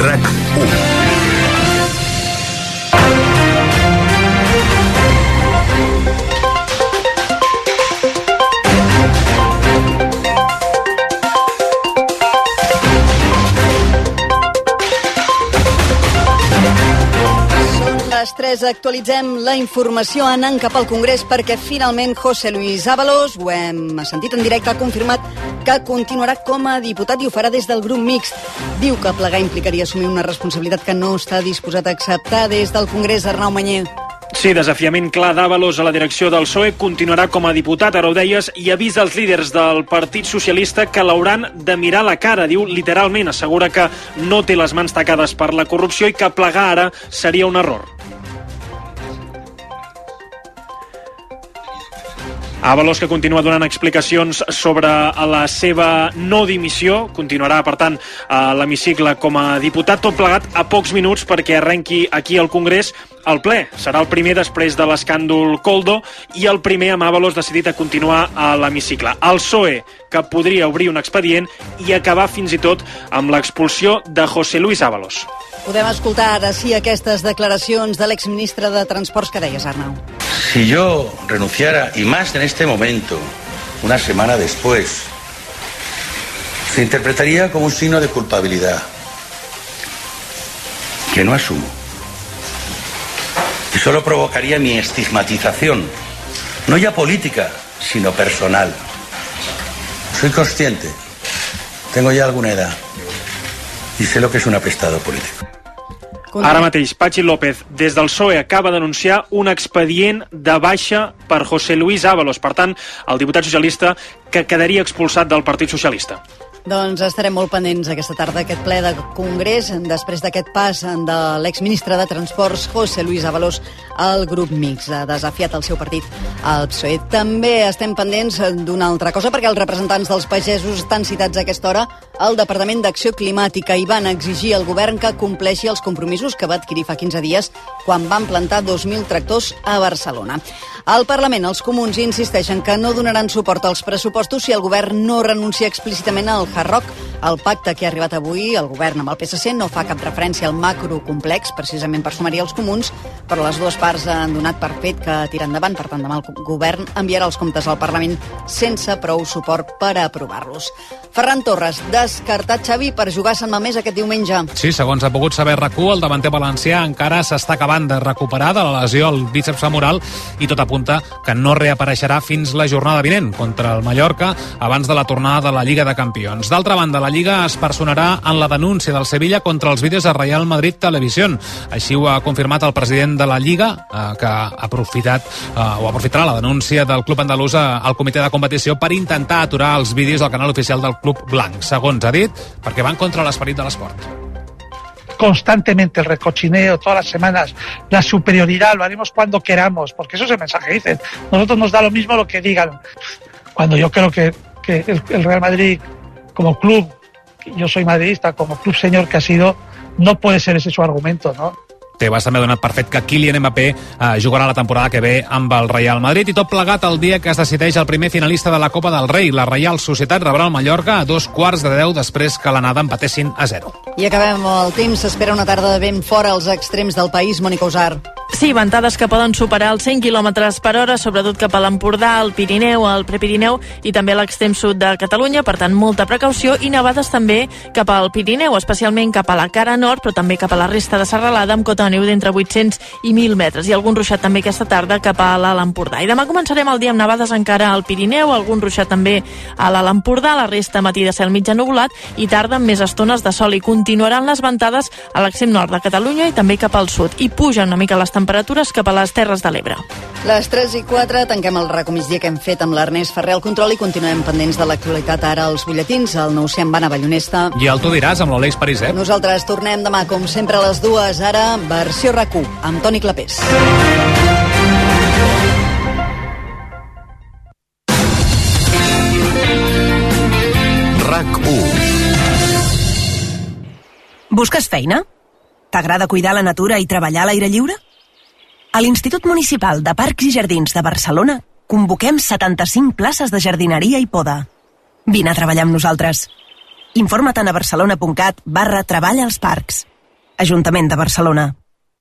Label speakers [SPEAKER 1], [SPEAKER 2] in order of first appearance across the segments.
[SPEAKER 1] RAC 1.
[SPEAKER 2] Són les 3, actualitzem la informació anant cap al Congrés perquè finalment José Luis Ábalos, ho hem sentit en directe, ha confirmat que continuarà com a diputat i ho farà des del grup mixt. Diu que plegar implicaria assumir una responsabilitat que no està disposat a acceptar des del Congrés Arnau Manyer.
[SPEAKER 3] Sí, desafiament clar d'Avalos a la direcció del PSOE. Continuarà com a diputat, ara ho deies, i avisa els líders del Partit Socialista que l'hauran de mirar la cara, diu literalment. Assegura que no té les mans tacades per la corrupció i que plegar ara seria un error. Avalos, que continua donant explicacions sobre la seva no dimissió, continuarà, per tant, a l'hemicicle com a diputat, tot plegat a pocs minuts perquè arrenqui aquí al Congrés el ple. Serà el primer després de l'escàndol Coldo i el primer amb Avalos decidit a continuar a l'hemicicle. El PSOE, que podria obrir un expedient i acabar fins i tot amb l'expulsió de José Luis Avalos.
[SPEAKER 2] Podem escoltar ara sí aquestes declaracions de l'exministre de Transports que deies, Arnau.
[SPEAKER 4] Si yo renunciara, y más en este momento, una semana después, se interpretaría como un signo de culpabilidad que no asumo. Y solo provocaría mi estigmatización, no ya política, sino personal. Soy consciente, tengo ya alguna edad y sé lo que es un apestado político.
[SPEAKER 3] Ara mateix, Patxi López, des del PSOE, acaba d'anunciar un expedient de baixa per José Luis Ábalos, per tant, el diputat socialista que quedaria expulsat del Partit Socialista.
[SPEAKER 2] Doncs estarem molt pendents aquesta tarda aquest ple de Congrés després d'aquest pas de l'exministre de Transports José Luis Avalos al grup mix. Ha desafiat el seu partit al PSOE. E. També estem pendents d'una altra cosa perquè els representants dels pagesos estan citats a aquesta hora al Departament d'Acció Climàtica i van exigir al govern que compleixi els compromisos que va adquirir fa 15 dies quan van plantar 2.000 tractors a Barcelona. Al Parlament, els comuns insisteixen que no donaran suport als pressupostos si el govern no renuncia explícitament al Hard Rock. El pacte que ha arribat avui el govern amb el PSC no fa cap referència al macrocomplex, precisament per sumar els comuns, però les dues parts han donat per fet que tira endavant. Per tant, demà el govern enviarà els comptes al Parlament sense prou suport per aprovar-los. Ferran Torres, descartat Xavi per jugar a Sant Mamés aquest diumenge.
[SPEAKER 5] Sí, segons ha pogut saber rac el davanter valencià encara s'està acabant de recuperar de la lesió al bíceps femoral i tot apunta que no reapareixerà fins la jornada vinent contra el Mallorca abans de la tornada de la Lliga de Campions. D'altra banda, la Lliga es personarà en la denúncia del Sevilla contra els vídeos de Real Madrid Televisió. Així ho ha confirmat el president de la Lliga, eh, que ha aprofitat eh, o aprofitarà la denúncia del club andalús a- al comitè de competició per intentar aturar els vídeos al canal oficial del club blanc, segons ha dit, perquè van contra l'esperit de l'esport.
[SPEAKER 6] constantemente el recochineo todas las semanas, la superioridad, lo haremos cuando queramos, porque eso es el mensaje que dicen. Nosotros nos da lo mismo lo que digan. Cuando yo creo que, que el, el Real Madrid, como club, yo soy madridista, como club señor que ha sido, no puede ser ese su argumento, ¿no?
[SPEAKER 5] Tebas també ha donat per fet que Kylian Mbappé eh, jugarà la temporada que ve amb el Real Madrid i tot plegat el dia que es decideix el primer finalista de la Copa del Rei. La Reial Societat rebrà el Mallorca a dos quarts de deu després que l'anada empatessin a zero.
[SPEAKER 2] I acabem el temps. S'espera una tarda de vent fora als extrems del país. Mònica Usar.
[SPEAKER 7] Sí, ventades que poden superar els 100 km per hora, sobretot cap a l'Empordà, al Pirineu, al Prepirineu i també a l'extrem sud de Catalunya, per tant, molta precaució i nevades també cap al Pirineu, especialment cap a la cara nord, però també cap a la resta de serralada, amb cota de neu d'entre 800 i 1.000 metres, i algun ruixat també aquesta tarda cap a l'Alt Empordà. I demà començarem el dia amb nevades encara al Pirineu, algun ruixat també a l'Alt Empordà, la resta matí de cel mitja nuvolat i tarda amb més estones de sol i continuaran les ventades a l'extrem nord de Catalunya i també cap al sud i pugen una mica les temperatures cap a les Terres de l'Ebre.
[SPEAKER 2] Les 3 i 4 tanquem el recomisdia que hem fet amb l'Ernest Ferrer al control i continuem pendents de l'actualitat ara als butlletins. El nou se'n va a Ballonesta.
[SPEAKER 5] I el tu diràs amb l'Oleix París, eh?
[SPEAKER 2] Nosaltres tornem demà, com sempre, a les dues. Ara, versió rac amb Toni Clapés.
[SPEAKER 1] RAC 1.
[SPEAKER 8] Busques feina? T'agrada cuidar la natura i treballar a l'aire lliure? A l'Institut Municipal de Parcs i Jardins de Barcelona convoquem 75 places de jardineria i poda. Vine a treballar amb nosaltres. Informa't a barcelona.cat barra treballa als parcs.
[SPEAKER 9] Ajuntament de Barcelona.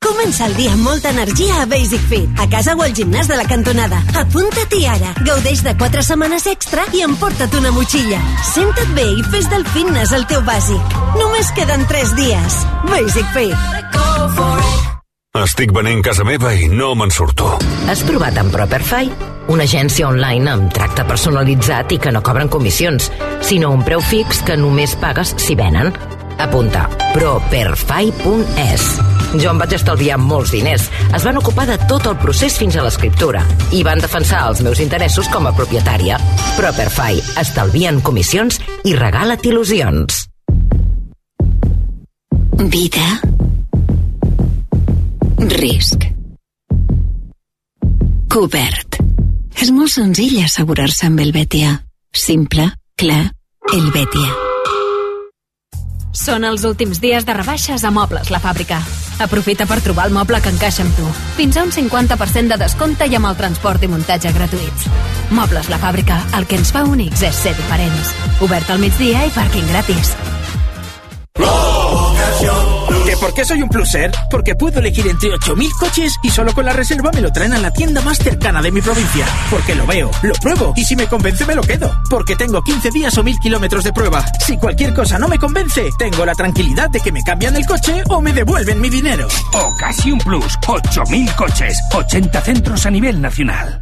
[SPEAKER 10] Comença el dia amb molta energia a Basic Fit. A casa o al gimnàs de la cantonada. Apunta-t'hi ara. Gaudeix de 4 setmanes extra i emporta't una motxilla. Senta't bé i fes del fitness el teu bàsic. Només queden 3 dies. Basic Fit.
[SPEAKER 11] Estic venent casa meva i no me'n surto.
[SPEAKER 12] Has trobat en Properfy? Una agència online amb tracte personalitzat i que no cobren comissions, sinó un preu fix que només pagues si venen. Apunta properfy.es. Jo em vaig estalviar molts diners. Es van ocupar de tot el procés fins a l'escriptura i van defensar els meus interessos com a propietària. Properfy. Estalvien comissions i regala't il·lusions.
[SPEAKER 8] Vida. Risc. Cobert. És molt senzill assegurar-se amb el Betia. Simple, clar, el Betia.
[SPEAKER 13] Són els últims dies de rebaixes a Mobles La Fàbrica. Aprofita per trobar el moble que encaixa amb tu. Fins a un 50% de descompte i amb el transport i muntatge gratuïts. Mobles La Fàbrica, el que ens fa únics és ser diferents. Obert al migdia i pàrquing gratis.
[SPEAKER 14] ¿Que por qué soy un pluser? Porque puedo elegir entre 8.000 coches y solo con la reserva me lo traen a la tienda más cercana de mi provincia. Porque lo veo, lo pruebo y si me convence me lo quedo. Porque tengo 15 días o 1.000 kilómetros de prueba. Si cualquier cosa no me convence, tengo la tranquilidad de que me cambian el coche o me devuelven mi dinero.
[SPEAKER 15] Ocasión Plus, 8.000 coches, 80 centros a nivel nacional.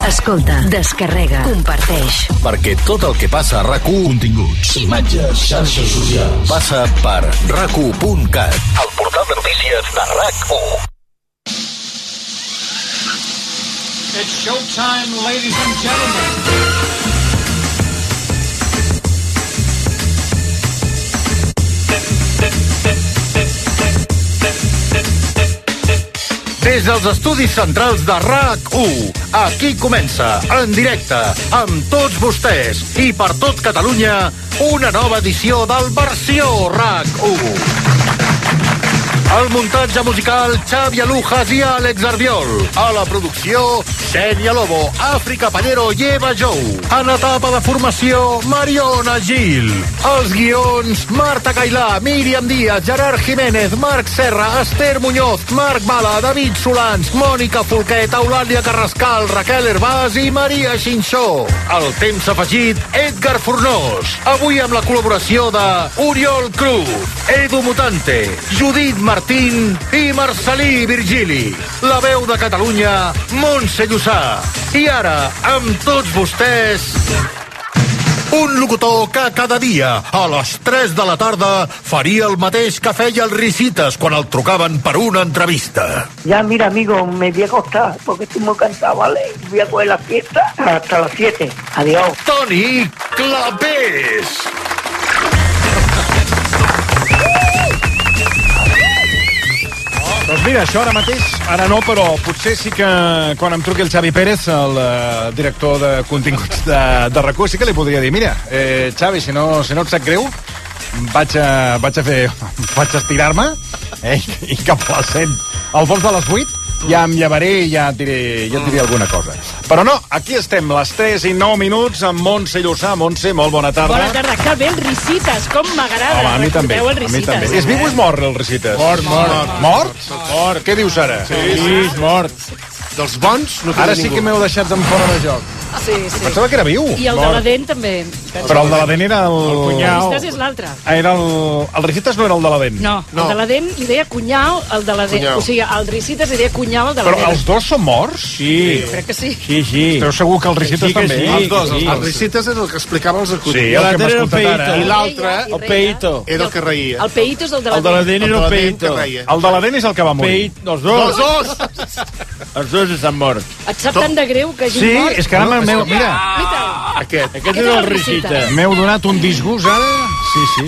[SPEAKER 8] Escolta, descarrega, comparteix.
[SPEAKER 11] Perquè tot el que passa a rac continguts, imatges, xarxes socials, passa per rac1.cat, el portal de notícies de RAC1.
[SPEAKER 16] It's showtime, ladies and gentlemen.
[SPEAKER 1] Des dels estudis centrals de RAC1, aquí comença, en directe, amb tots vostès i per tot Catalunya, una nova edició del Versió RAC1. El muntatge musical, Xavi Alujas i Àlex Ardiol. A la producció, Xenia Lobo, Àfrica Pallero i Eva Jou. En etapa de formació, Mariona Gil. Els guions, Marta Cailà, Míriam Díaz, Gerard Jiménez, Marc Serra, Esther Muñoz, Marc Bala, David Solans, Mònica Folquet, Eulàlia Carrascal, Raquel Herbàs i Maria Xinxó. El temps afegit, Edgar Fornós. Avui amb la col·laboració de Oriol Cruz, Edu Mutante, Judit Martín i Marcelí Virgili. La veu de Catalunya, Montse Llussà. I ara, amb tots vostès, un locutor que cada dia, a les 3 de la tarda, faria el mateix que feia el Risitas quan el trucaven per una entrevista.
[SPEAKER 17] Ya, mira, amigo, me voy a acostar porque estoy muy cansado, ¿vale? Voy a coger la fiesta hasta las 7. Adiós.
[SPEAKER 1] Toni Clapés.
[SPEAKER 18] Doncs mira, això ara mateix, ara no, però potser sí que quan em truqui el Xavi Pérez, el eh, director de continguts de, de RAC1, sí que li podria dir, mira, eh, Xavi, si no, si no et sap greu, vaig a, vaig a fer... vaig a estirar-me, eh, i cap a les 100, al fons de les 8, ja em llevaré i ja et diré, ja et diré alguna cosa. Però no, aquí estem, les 3 i 9 minuts, amb Montse Llussà. Montse, molt bona tarda.
[SPEAKER 19] Bona tarda, que bé el Ricites, com m'agrada.
[SPEAKER 18] Home, a mi també,
[SPEAKER 19] Ah, Recordeu
[SPEAKER 18] a
[SPEAKER 19] el
[SPEAKER 18] mi també.
[SPEAKER 19] Ricites.
[SPEAKER 18] És viu o és mort, el Ricites?
[SPEAKER 20] Mort, mort.
[SPEAKER 18] Mort? Mort. Què dius ara?
[SPEAKER 20] Sí, sí, mort.
[SPEAKER 18] Dels bons no Ara sí que m'heu deixat en fora de joc.
[SPEAKER 19] Sí, sí.
[SPEAKER 18] Pensava que era viu.
[SPEAKER 19] I el de la dent també.
[SPEAKER 18] Però el de la dent era el...
[SPEAKER 19] El cunyau. Ristes és l'altre.
[SPEAKER 18] Ah, Era el... El Ricites no era el de la dent.
[SPEAKER 19] No, no, el de la dent li deia cunyau, el de la dent.
[SPEAKER 18] Cunyau.
[SPEAKER 19] O sigui, el Ricites li deia cunyau, el de la
[SPEAKER 18] Però
[SPEAKER 19] dent.
[SPEAKER 18] els dos són morts? Sí.
[SPEAKER 19] Crec que sí.
[SPEAKER 18] Sí, sí. Esteu segur que el Ricites
[SPEAKER 21] Sí que
[SPEAKER 18] també?
[SPEAKER 21] sí, Els dos, que els sí. dos. El
[SPEAKER 18] Ricites és el que explicava els
[SPEAKER 21] Sí, el que hem escoltat ara. I l'altre,
[SPEAKER 19] Reia i
[SPEAKER 21] el
[SPEAKER 19] reia.
[SPEAKER 21] Peito. Era el que reia.
[SPEAKER 19] El peïto és el de la
[SPEAKER 21] El de la dent era el Peito.
[SPEAKER 18] El de la dent és el que va morir.
[SPEAKER 21] Peit, els dos.
[SPEAKER 19] Els
[SPEAKER 21] Els dos estan morts.
[SPEAKER 19] Et sap tan de greu que hagin
[SPEAKER 18] Sí,
[SPEAKER 19] mort?
[SPEAKER 18] és que ara me'l meu... Mira,
[SPEAKER 21] Aquest. Aquest
[SPEAKER 19] Aquest
[SPEAKER 21] és
[SPEAKER 19] era
[SPEAKER 21] el
[SPEAKER 19] el Ricites.
[SPEAKER 21] Ricites.
[SPEAKER 18] m'heu donat un disgust ara. Sí, sí.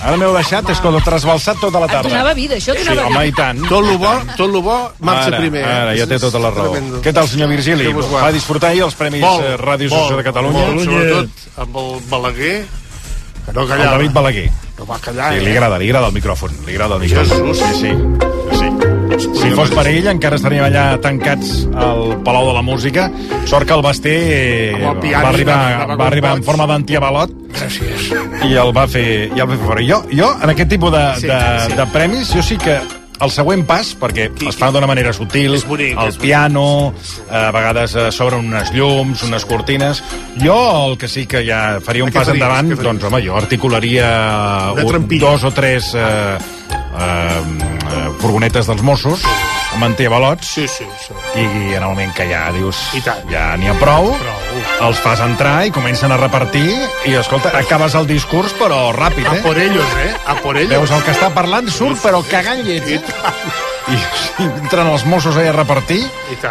[SPEAKER 18] Ara m'heu deixat, és com trasbalsat tota la
[SPEAKER 19] Et
[SPEAKER 18] tarda.
[SPEAKER 19] donava vida, això et
[SPEAKER 18] Sí,
[SPEAKER 19] donava vida.
[SPEAKER 18] home, i tant.
[SPEAKER 21] Tot lo bo, tot lo bo marxa
[SPEAKER 18] Ara,
[SPEAKER 21] primer. eh?
[SPEAKER 18] Ara, ja té tota la raó.
[SPEAKER 21] Tremendo.
[SPEAKER 18] Què tal, senyor Virgili?
[SPEAKER 21] Que vos guard.
[SPEAKER 18] Va disfrutar ahir els Premis
[SPEAKER 21] Molt,
[SPEAKER 18] eh, Ràdio
[SPEAKER 21] molt,
[SPEAKER 18] Associació de Catalunya.
[SPEAKER 21] molt, Sobretot amb el Balaguer, que no
[SPEAKER 18] El
[SPEAKER 21] callava.
[SPEAKER 18] David Balaguer.
[SPEAKER 21] No va callar,
[SPEAKER 18] Sí,
[SPEAKER 21] eh?
[SPEAKER 18] li agrada, li agrada el micròfon. Li agrada el micròfon. Sí, sí. sí. Si fos per ell, encara estaríem allà tancats al Palau de la Música. Sort que el Basté eh,
[SPEAKER 21] Amb el piano,
[SPEAKER 18] va
[SPEAKER 21] anava
[SPEAKER 18] arribar,
[SPEAKER 21] com
[SPEAKER 18] va arribar en
[SPEAKER 21] boig.
[SPEAKER 18] forma d'antiavalot i el va fer, i el va fer fora. Jo, jo, en aquest tipus de,
[SPEAKER 21] Sí,
[SPEAKER 18] de,
[SPEAKER 21] sí.
[SPEAKER 18] de premis, jo sí que el següent pas, perquè es fa d'una manera sutil, bonic, el piano, eh, a vegades eh, s'obren unes llums, unes cortines... Jo el que sí que ja faria un
[SPEAKER 21] Ah, què
[SPEAKER 18] pas
[SPEAKER 21] faries?
[SPEAKER 18] endavant,
[SPEAKER 21] Què faries?
[SPEAKER 18] doncs, home, jo articularia
[SPEAKER 21] Una
[SPEAKER 18] un-
[SPEAKER 21] trampilla.
[SPEAKER 18] dos o tres eh, eh, eh, furgonetes dels Mossos, amb antiavalots, sí, sí, sí. i en el moment que ja dius, ja n'hi ha prou, els fas entrar i comencen a repartir i, escolta, acabes el discurs però ràpid, eh?
[SPEAKER 21] A por ellos, eh? A por ellos.
[SPEAKER 18] Veus el que està parlant surt però cagant lleig, eh? I si entren els Mossos ahí a repartir,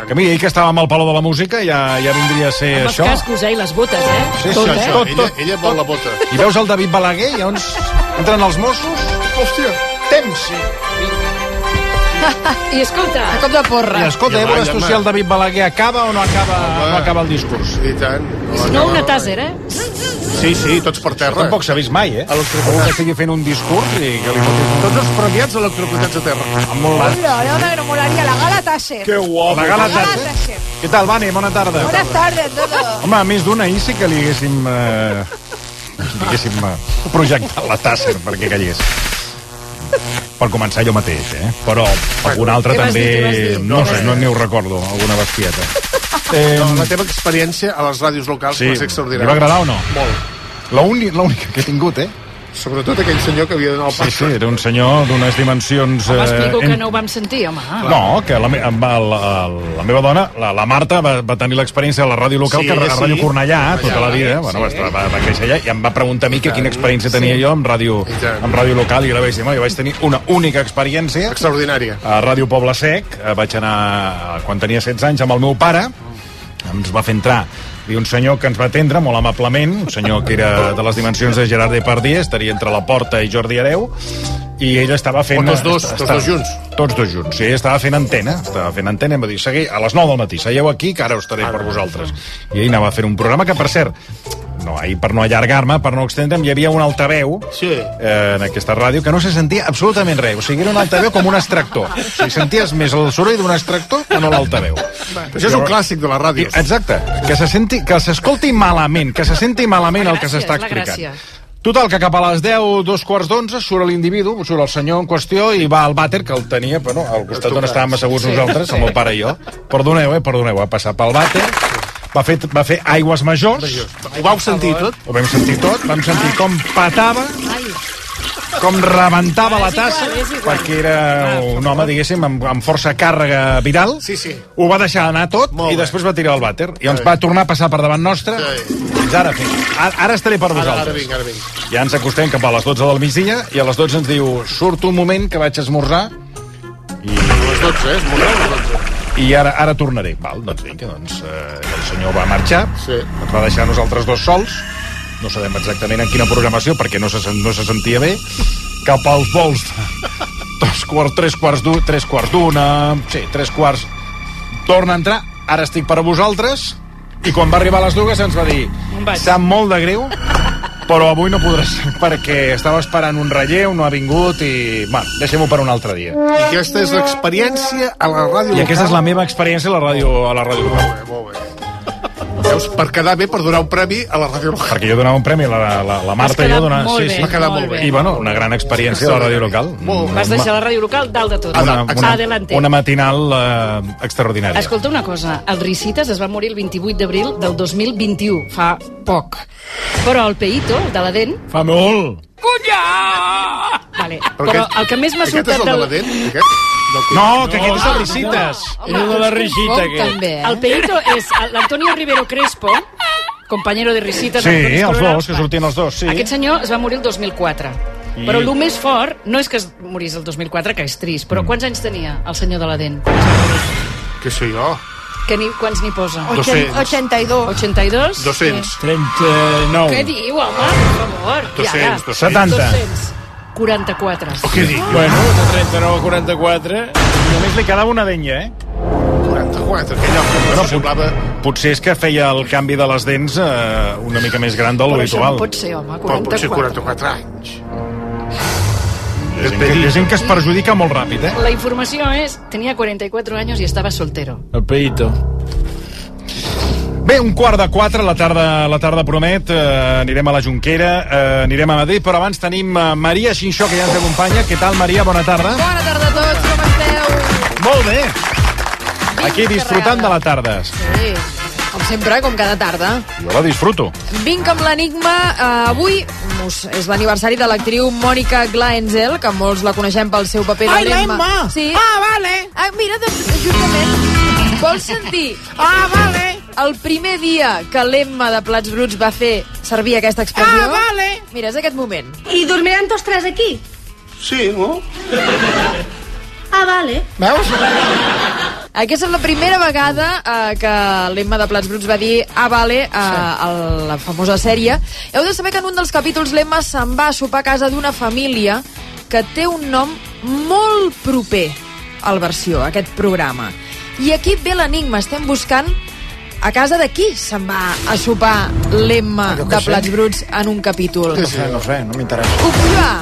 [SPEAKER 18] que mira, ahir que estàvem al Palau de la Música ja, ja vindria a ser
[SPEAKER 19] Amb els
[SPEAKER 18] això.
[SPEAKER 19] cascos, eh, i les botes, eh?
[SPEAKER 18] Sí,
[SPEAKER 19] Tot,
[SPEAKER 18] sí,
[SPEAKER 19] eh?
[SPEAKER 18] tot, tot,
[SPEAKER 21] Ella vol la bota.
[SPEAKER 18] I veus el David Balaguer, i llavors entren els Mossos... Hòstia, temps!
[SPEAKER 19] I escolta... A
[SPEAKER 2] cop de porra.
[SPEAKER 18] I escolta,
[SPEAKER 21] Ja
[SPEAKER 18] ja
[SPEAKER 21] va,
[SPEAKER 18] veuràs
[SPEAKER 21] ja
[SPEAKER 18] tu
[SPEAKER 21] va.
[SPEAKER 18] si el David Balaguer acaba o no acaba, no acaba el discurs.
[SPEAKER 21] I tant.
[SPEAKER 19] Si no, una tàser, eh?
[SPEAKER 21] Sí, sí, tots per terra.
[SPEAKER 18] Tampoc s'ha vist mai, eh? Algú que estigui fent un discurs i que li fotis...
[SPEAKER 21] Tots els premiats electrocutats a terra.
[SPEAKER 18] Amb molt bast.
[SPEAKER 22] Hola, hola, me molaría la gala Tasher.
[SPEAKER 18] Que guapo. La gala Tasser. Què tal, Vane? Bona tarda.
[SPEAKER 22] Buenas tardes a todos.
[SPEAKER 18] Home, a més d'una, ahir sí que li haguéssim... Eh, diguéssim, eh, projectat la Tasser perquè callés. Per començar jo mateix, eh? Però algun altre
[SPEAKER 21] Què vas
[SPEAKER 18] també...
[SPEAKER 21] dir, què vas dir?
[SPEAKER 18] No sé,
[SPEAKER 21] Eh.
[SPEAKER 18] no n'hi ho recordo, alguna bestieta.
[SPEAKER 21] No, la teva experiència a les ràdios locals
[SPEAKER 18] Sí.
[SPEAKER 21] va ser extraordinària.
[SPEAKER 18] Li va agradar o no?
[SPEAKER 21] Molt.
[SPEAKER 18] La uni- L'única que he tingut, eh?
[SPEAKER 21] Sobretot aquell senyor que havia d'anar al
[SPEAKER 18] Sí, sí, era un senyor d'unes dimensions...
[SPEAKER 19] Home, explico que
[SPEAKER 18] en-
[SPEAKER 19] no ho vam sentir, home.
[SPEAKER 18] Eh, No, que la, me, amb el- el- la meva dona, la, la Marta, va, va tenir l'experiència de la ràdio local,
[SPEAKER 21] Sí,
[SPEAKER 18] que era
[SPEAKER 21] ella
[SPEAKER 18] a
[SPEAKER 21] sí.
[SPEAKER 18] Ràdio Cornellà,
[SPEAKER 21] Cornellà, eh?
[SPEAKER 18] tota la vida.
[SPEAKER 21] sí.
[SPEAKER 18] Bueno, va, va, va créixer allà i em va preguntar a mi que quina experiència tenia
[SPEAKER 21] Sí.
[SPEAKER 18] jo amb ràdio, amb ràdio local i la vaig dir, "Home, jo vaig tenir una única experiència.
[SPEAKER 21] Extraordinària.
[SPEAKER 18] A Ràdio Poble Sec, eh, vaig anar eh, quan tenia 16 anys amb el meu pare, ens va fer entrar i un senyor que ens va atendre molt amablement, un senyor que era de les dimensions de Gerard Depardieu, estaria entre la porta i Jordi Areu, i ell estava fent...
[SPEAKER 21] O tots dos,
[SPEAKER 18] esta-
[SPEAKER 21] tots
[SPEAKER 18] esta-
[SPEAKER 21] dos junts.
[SPEAKER 18] Tots dos junts. Sí, ell estava fent antena, estava fent antena i em va dir, seguir a les 9 del matí, seieu aquí, que ara us estaré per vosaltres. I ell anava a fer un programa que, per cert, no, ahir per no allargar-me, per no extendre'm, hi havia un altaveu sí. eh, en aquesta ràdio que no se sentia absolutament res. O sigui, era un altaveu com un extractor. O sigui, senties més el soroll d'un extractor que no l'altaveu.
[SPEAKER 21] Això és un clàssic de la ràdio.
[SPEAKER 18] Exacte. Que se senti, que s'escolti malament, que se senti malament el que s'està
[SPEAKER 21] és la
[SPEAKER 18] explicant.
[SPEAKER 21] gràcia.
[SPEAKER 18] Total, que cap a les 10, dos quarts d'onze, surt l'individu, surt el senyor en qüestió i va al vàter, que el tenia bueno, al costat on estàvem asseguts
[SPEAKER 21] Sí,
[SPEAKER 18] nosaltres,
[SPEAKER 21] sí.
[SPEAKER 18] amb el pare i jo. Perdoneu, eh? Perdoneu, va passar pel vàter, va fer, va fer aigües majors.
[SPEAKER 21] Ho vau sentir tot?
[SPEAKER 18] Ho vam sentir tot, vam sentir com patava, com rebentava la tassa, perquè era un home, diguéssim, amb, amb força càrrega viral. Sí, sí. Ho va deixar anar tot i després va tirar el vàter. I ens va tornar a passar per davant nostra. Fins ara, fins. Ara, ara estaré per
[SPEAKER 21] Ara,
[SPEAKER 18] vosaltres.
[SPEAKER 21] ara vinc, ara vinc.
[SPEAKER 18] Ja ens acostem cap a les 12 del migdia i a les 12 ens diu, surto un moment que vaig a esmorzar
[SPEAKER 21] A les 12, eh? És molt bé, a les 12.
[SPEAKER 18] i ara ara tornaré. Val, doncs vinga, doncs eh, el senyor va marxar,
[SPEAKER 21] Sí.
[SPEAKER 18] ens va deixar a nosaltres dos sols, no sabem exactament en quina programació perquè no se, sen- no se sentia bé, cap als vols de dos quarts, tres quarts d'un, tres quarts d'una, sí, tres quarts, torna a entrar, ara estic per a vosaltres, i quan va arribar a les dues ens va dir, sap molt de greu, però avui no podràs perquè estava esperant un relleu, no ha vingut i... Bueno, deixem-ho per un altre dia.
[SPEAKER 21] I aquesta és l'experiència a la ràdio
[SPEAKER 18] I aquesta és
[SPEAKER 21] local.
[SPEAKER 18] la meva experiència a la ràdio, a la ràdio local.
[SPEAKER 21] Déu Veus, per quedar bé, per donar un premi a la ràdio local.
[SPEAKER 18] Perquè jo donava un premi, la, la, la, la Marta i
[SPEAKER 19] quedat
[SPEAKER 18] jo donava...
[SPEAKER 19] molt bé,
[SPEAKER 18] va quedar
[SPEAKER 19] molt
[SPEAKER 18] molt bé.
[SPEAKER 19] bé.
[SPEAKER 18] I bueno, una gran experiència de la ràdio local. Molt
[SPEAKER 19] Vas deixar la ràdio local dalt de tot.
[SPEAKER 18] una, una,
[SPEAKER 19] Adelante.
[SPEAKER 18] una matinal eh, extraordinària.
[SPEAKER 19] Escolta una cosa, el Ricites es va morir el 28 d'abril del 2021, fa poc. Però el Peito, el de la dent...
[SPEAKER 18] Fa molt!
[SPEAKER 19] Cunya! Vale. Però, Però
[SPEAKER 21] aquest-
[SPEAKER 19] el que més m'ha
[SPEAKER 21] aquest
[SPEAKER 19] sortit...
[SPEAKER 21] és el de la dent, aquest?
[SPEAKER 18] No, que aquest és el
[SPEAKER 19] Ah,
[SPEAKER 18] Ricites.
[SPEAKER 19] no.
[SPEAKER 18] És el de la
[SPEAKER 19] Home,
[SPEAKER 18] Ricita,
[SPEAKER 19] confoc
[SPEAKER 18] aquest.
[SPEAKER 19] També, eh? El Peito és l'Antonio Rivero Crespo, companyero de Ricites.
[SPEAKER 18] Sí,
[SPEAKER 19] d'Antonio
[SPEAKER 18] els
[SPEAKER 19] Corona.
[SPEAKER 18] dos, que sortien els dos, sí.
[SPEAKER 19] Aquest senyor es va morir el 2004.
[SPEAKER 18] I-
[SPEAKER 19] Però el més fort no és que es morís el 2004, que és trist,
[SPEAKER 18] Mm.
[SPEAKER 19] però quants anys tenia el senyor de la dent?
[SPEAKER 21] Què sé jo?
[SPEAKER 19] Que ni, quants n'hi posa?
[SPEAKER 21] 200.
[SPEAKER 19] 82. 82?
[SPEAKER 21] 200.
[SPEAKER 18] 39.
[SPEAKER 19] Què diu, home? Per favor.
[SPEAKER 18] 200,
[SPEAKER 19] 200.
[SPEAKER 18] 70.
[SPEAKER 19] 44.
[SPEAKER 21] Oh, Què dic?
[SPEAKER 18] Bueno, de 39 a 44, només li quedava una denya, eh?
[SPEAKER 21] 44, aquell lloc que no semblava...
[SPEAKER 18] Potser és que feia el canvi de les dents eh, una mica més gran del
[SPEAKER 19] Però això
[SPEAKER 18] habitual.
[SPEAKER 19] no pot ser, home,
[SPEAKER 21] Però potser
[SPEAKER 19] 44.
[SPEAKER 21] 44 anys.
[SPEAKER 18] Hi ha gent que- hi ha gent que es perjudica molt ràpid, eh?
[SPEAKER 19] La informació és, tenía 44 años y estaba soltero.
[SPEAKER 18] El peito. Bé, un quart de quatre, la tarda, la tarda promet, eh, anirem a la Junquera, eh, anirem a Madrid, però abans tenim eh, Maria Xinxó, que ja ens acompanya. Què tal, Maria? Bona tarda.
[SPEAKER 22] Bona tarda a tots, com esteu?
[SPEAKER 18] Molt bé. Aquí disfrutant de la tarda.
[SPEAKER 22] Sí, com sempre, eh, com cada tarda.
[SPEAKER 18] Jo la disfruto.
[SPEAKER 22] Vinc amb l'enigma. Uh, avui us- és l'aniversari de l'actriu Mònica Glaenzel, que molts la coneixem pel seu paper de
[SPEAKER 23] Ai,
[SPEAKER 22] l'Emma.
[SPEAKER 23] l'Emma!
[SPEAKER 22] Sí. Ah, vale! Ah, mira, doncs,
[SPEAKER 24] este
[SPEAKER 22] justament... Vols sentir? Ah, vale! El primer dia que l'Emma de Plats Bruts va fer servir aquesta expressió...
[SPEAKER 24] Ah, vale.
[SPEAKER 22] Mira, és aquest moment.
[SPEAKER 24] I dormiran tots tres aquí?
[SPEAKER 21] Sí, no?
[SPEAKER 24] Ah, vale.
[SPEAKER 22] Veus? Aquesta és la primera vegada eh, que l'Emma de Plats Bruts va dir ah, vale, eh, a la famosa sèrie. Heu de saber que en un dels capítols l'Emma se'n va a sopar a casa d'una família que té un nom molt proper al versió, a aquest programa. I aquí ve l'enigma, estem buscant a casa de qui se'n va a sopar l'Emma
[SPEAKER 18] Jo què
[SPEAKER 22] de
[SPEAKER 18] sé.
[SPEAKER 22] Plats Bruts en un capítol.
[SPEAKER 18] Pues No sé, no sé, no m'interessa.
[SPEAKER 22] Opció A.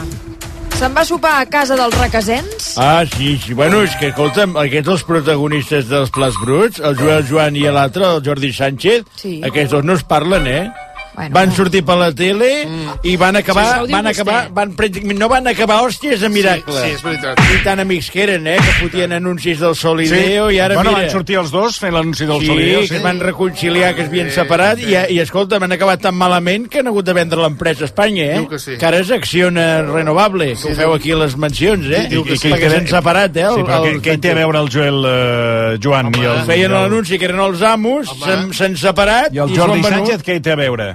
[SPEAKER 22] Se'n va a sopar a casa dels requesens?
[SPEAKER 14] Ah, sí, sí. Bueno, és que, escolta'm, aquests els protagonistes dels Plats Bruts, el Joel Joan i l'altre, el Jordi Sánchez,
[SPEAKER 22] Sí.
[SPEAKER 14] aquests dos no es parlen, eh? Bueno, van sortir per la tele mm. i van
[SPEAKER 23] Sí, això
[SPEAKER 14] acabar,
[SPEAKER 23] ho
[SPEAKER 14] sí,
[SPEAKER 23] diu
[SPEAKER 14] van acabar,
[SPEAKER 23] vostè.
[SPEAKER 14] van pràcticament, no van acabar hòsties a miracle.
[SPEAKER 23] sí, és
[SPEAKER 14] veritat. I tan amics que eren, eh, que fotien anuncis del Sol i
[SPEAKER 18] Sí.
[SPEAKER 14] Déu, i ara
[SPEAKER 18] Bueno,
[SPEAKER 14] mira...
[SPEAKER 18] van sortir els dos fent l'anunci del
[SPEAKER 14] sí,
[SPEAKER 18] Sol i Déu, sí.
[SPEAKER 14] que es van reconciliar, que es havien separat, i, i escolta, han acabat tan malament que han hagut de vendre l'empresa a Espanya, eh?
[SPEAKER 18] Diu que sí.
[SPEAKER 14] que ara és Acciona Renovable, que ho feu aquí a les mencions, eh?
[SPEAKER 18] Diu que sí.
[SPEAKER 14] Perquè s'han separat, eh?
[SPEAKER 18] Sí, però què, què hi té a veure el Joel eh, Joan i el...
[SPEAKER 14] Feien
[SPEAKER 18] i el-
[SPEAKER 14] l'anunci que eren els amos, s'han- s'han separat...
[SPEAKER 18] I el
[SPEAKER 14] s'ho han
[SPEAKER 18] Jordi
[SPEAKER 14] venut.
[SPEAKER 18] Sánchez què hi té a veure?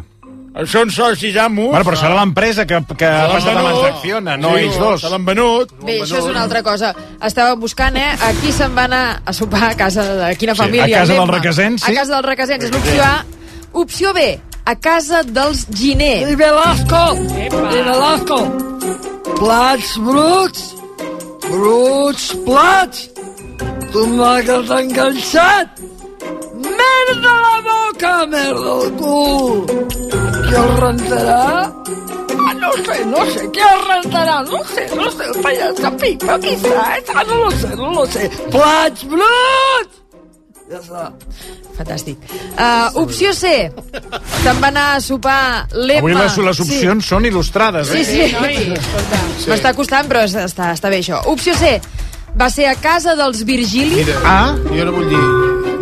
[SPEAKER 14] Són socis amos.
[SPEAKER 18] Bueno, però serà l'empresa que, que ha
[SPEAKER 14] l'han
[SPEAKER 18] passat a mans
[SPEAKER 14] venut.
[SPEAKER 18] d'Acciona, no
[SPEAKER 14] Sí,
[SPEAKER 18] ells dos.
[SPEAKER 14] se l'han venut.
[SPEAKER 22] Bé, això és una altra cosa. Estava buscant, eh, a qui se'n va anar a sopar a casa de quina
[SPEAKER 18] Sí,
[SPEAKER 22] família.
[SPEAKER 18] a casa
[SPEAKER 22] l'Emma.
[SPEAKER 18] dels requesens, sí?
[SPEAKER 22] A casa dels requesens, és l'opció A. Opció B, a casa dels Giner. I Velasco! I Velasco!
[SPEAKER 23] Plats bruts, bruts plats, tomàquet enganxat, merda a la boca, merda al cul. Qui el rentarà? Ah, no sé, no sé, qui el rentarà? No sé, no sé, el pallaç que pica, pisa, eh? Ah, no lo sé, no lo sé. Plats bruts! Ja està.
[SPEAKER 22] Fantàstic. Uh, opció C, se'n va anar a sopar l'Emma.
[SPEAKER 18] Avui les, les opcions sí. són il·lustrades,
[SPEAKER 22] Sí,
[SPEAKER 18] eh?
[SPEAKER 22] sí. sí. sí. M'està costant, però es- està, està bé això. Opció C, va ser a casa dels Virgili.
[SPEAKER 21] Mira, ah? jo no vull dir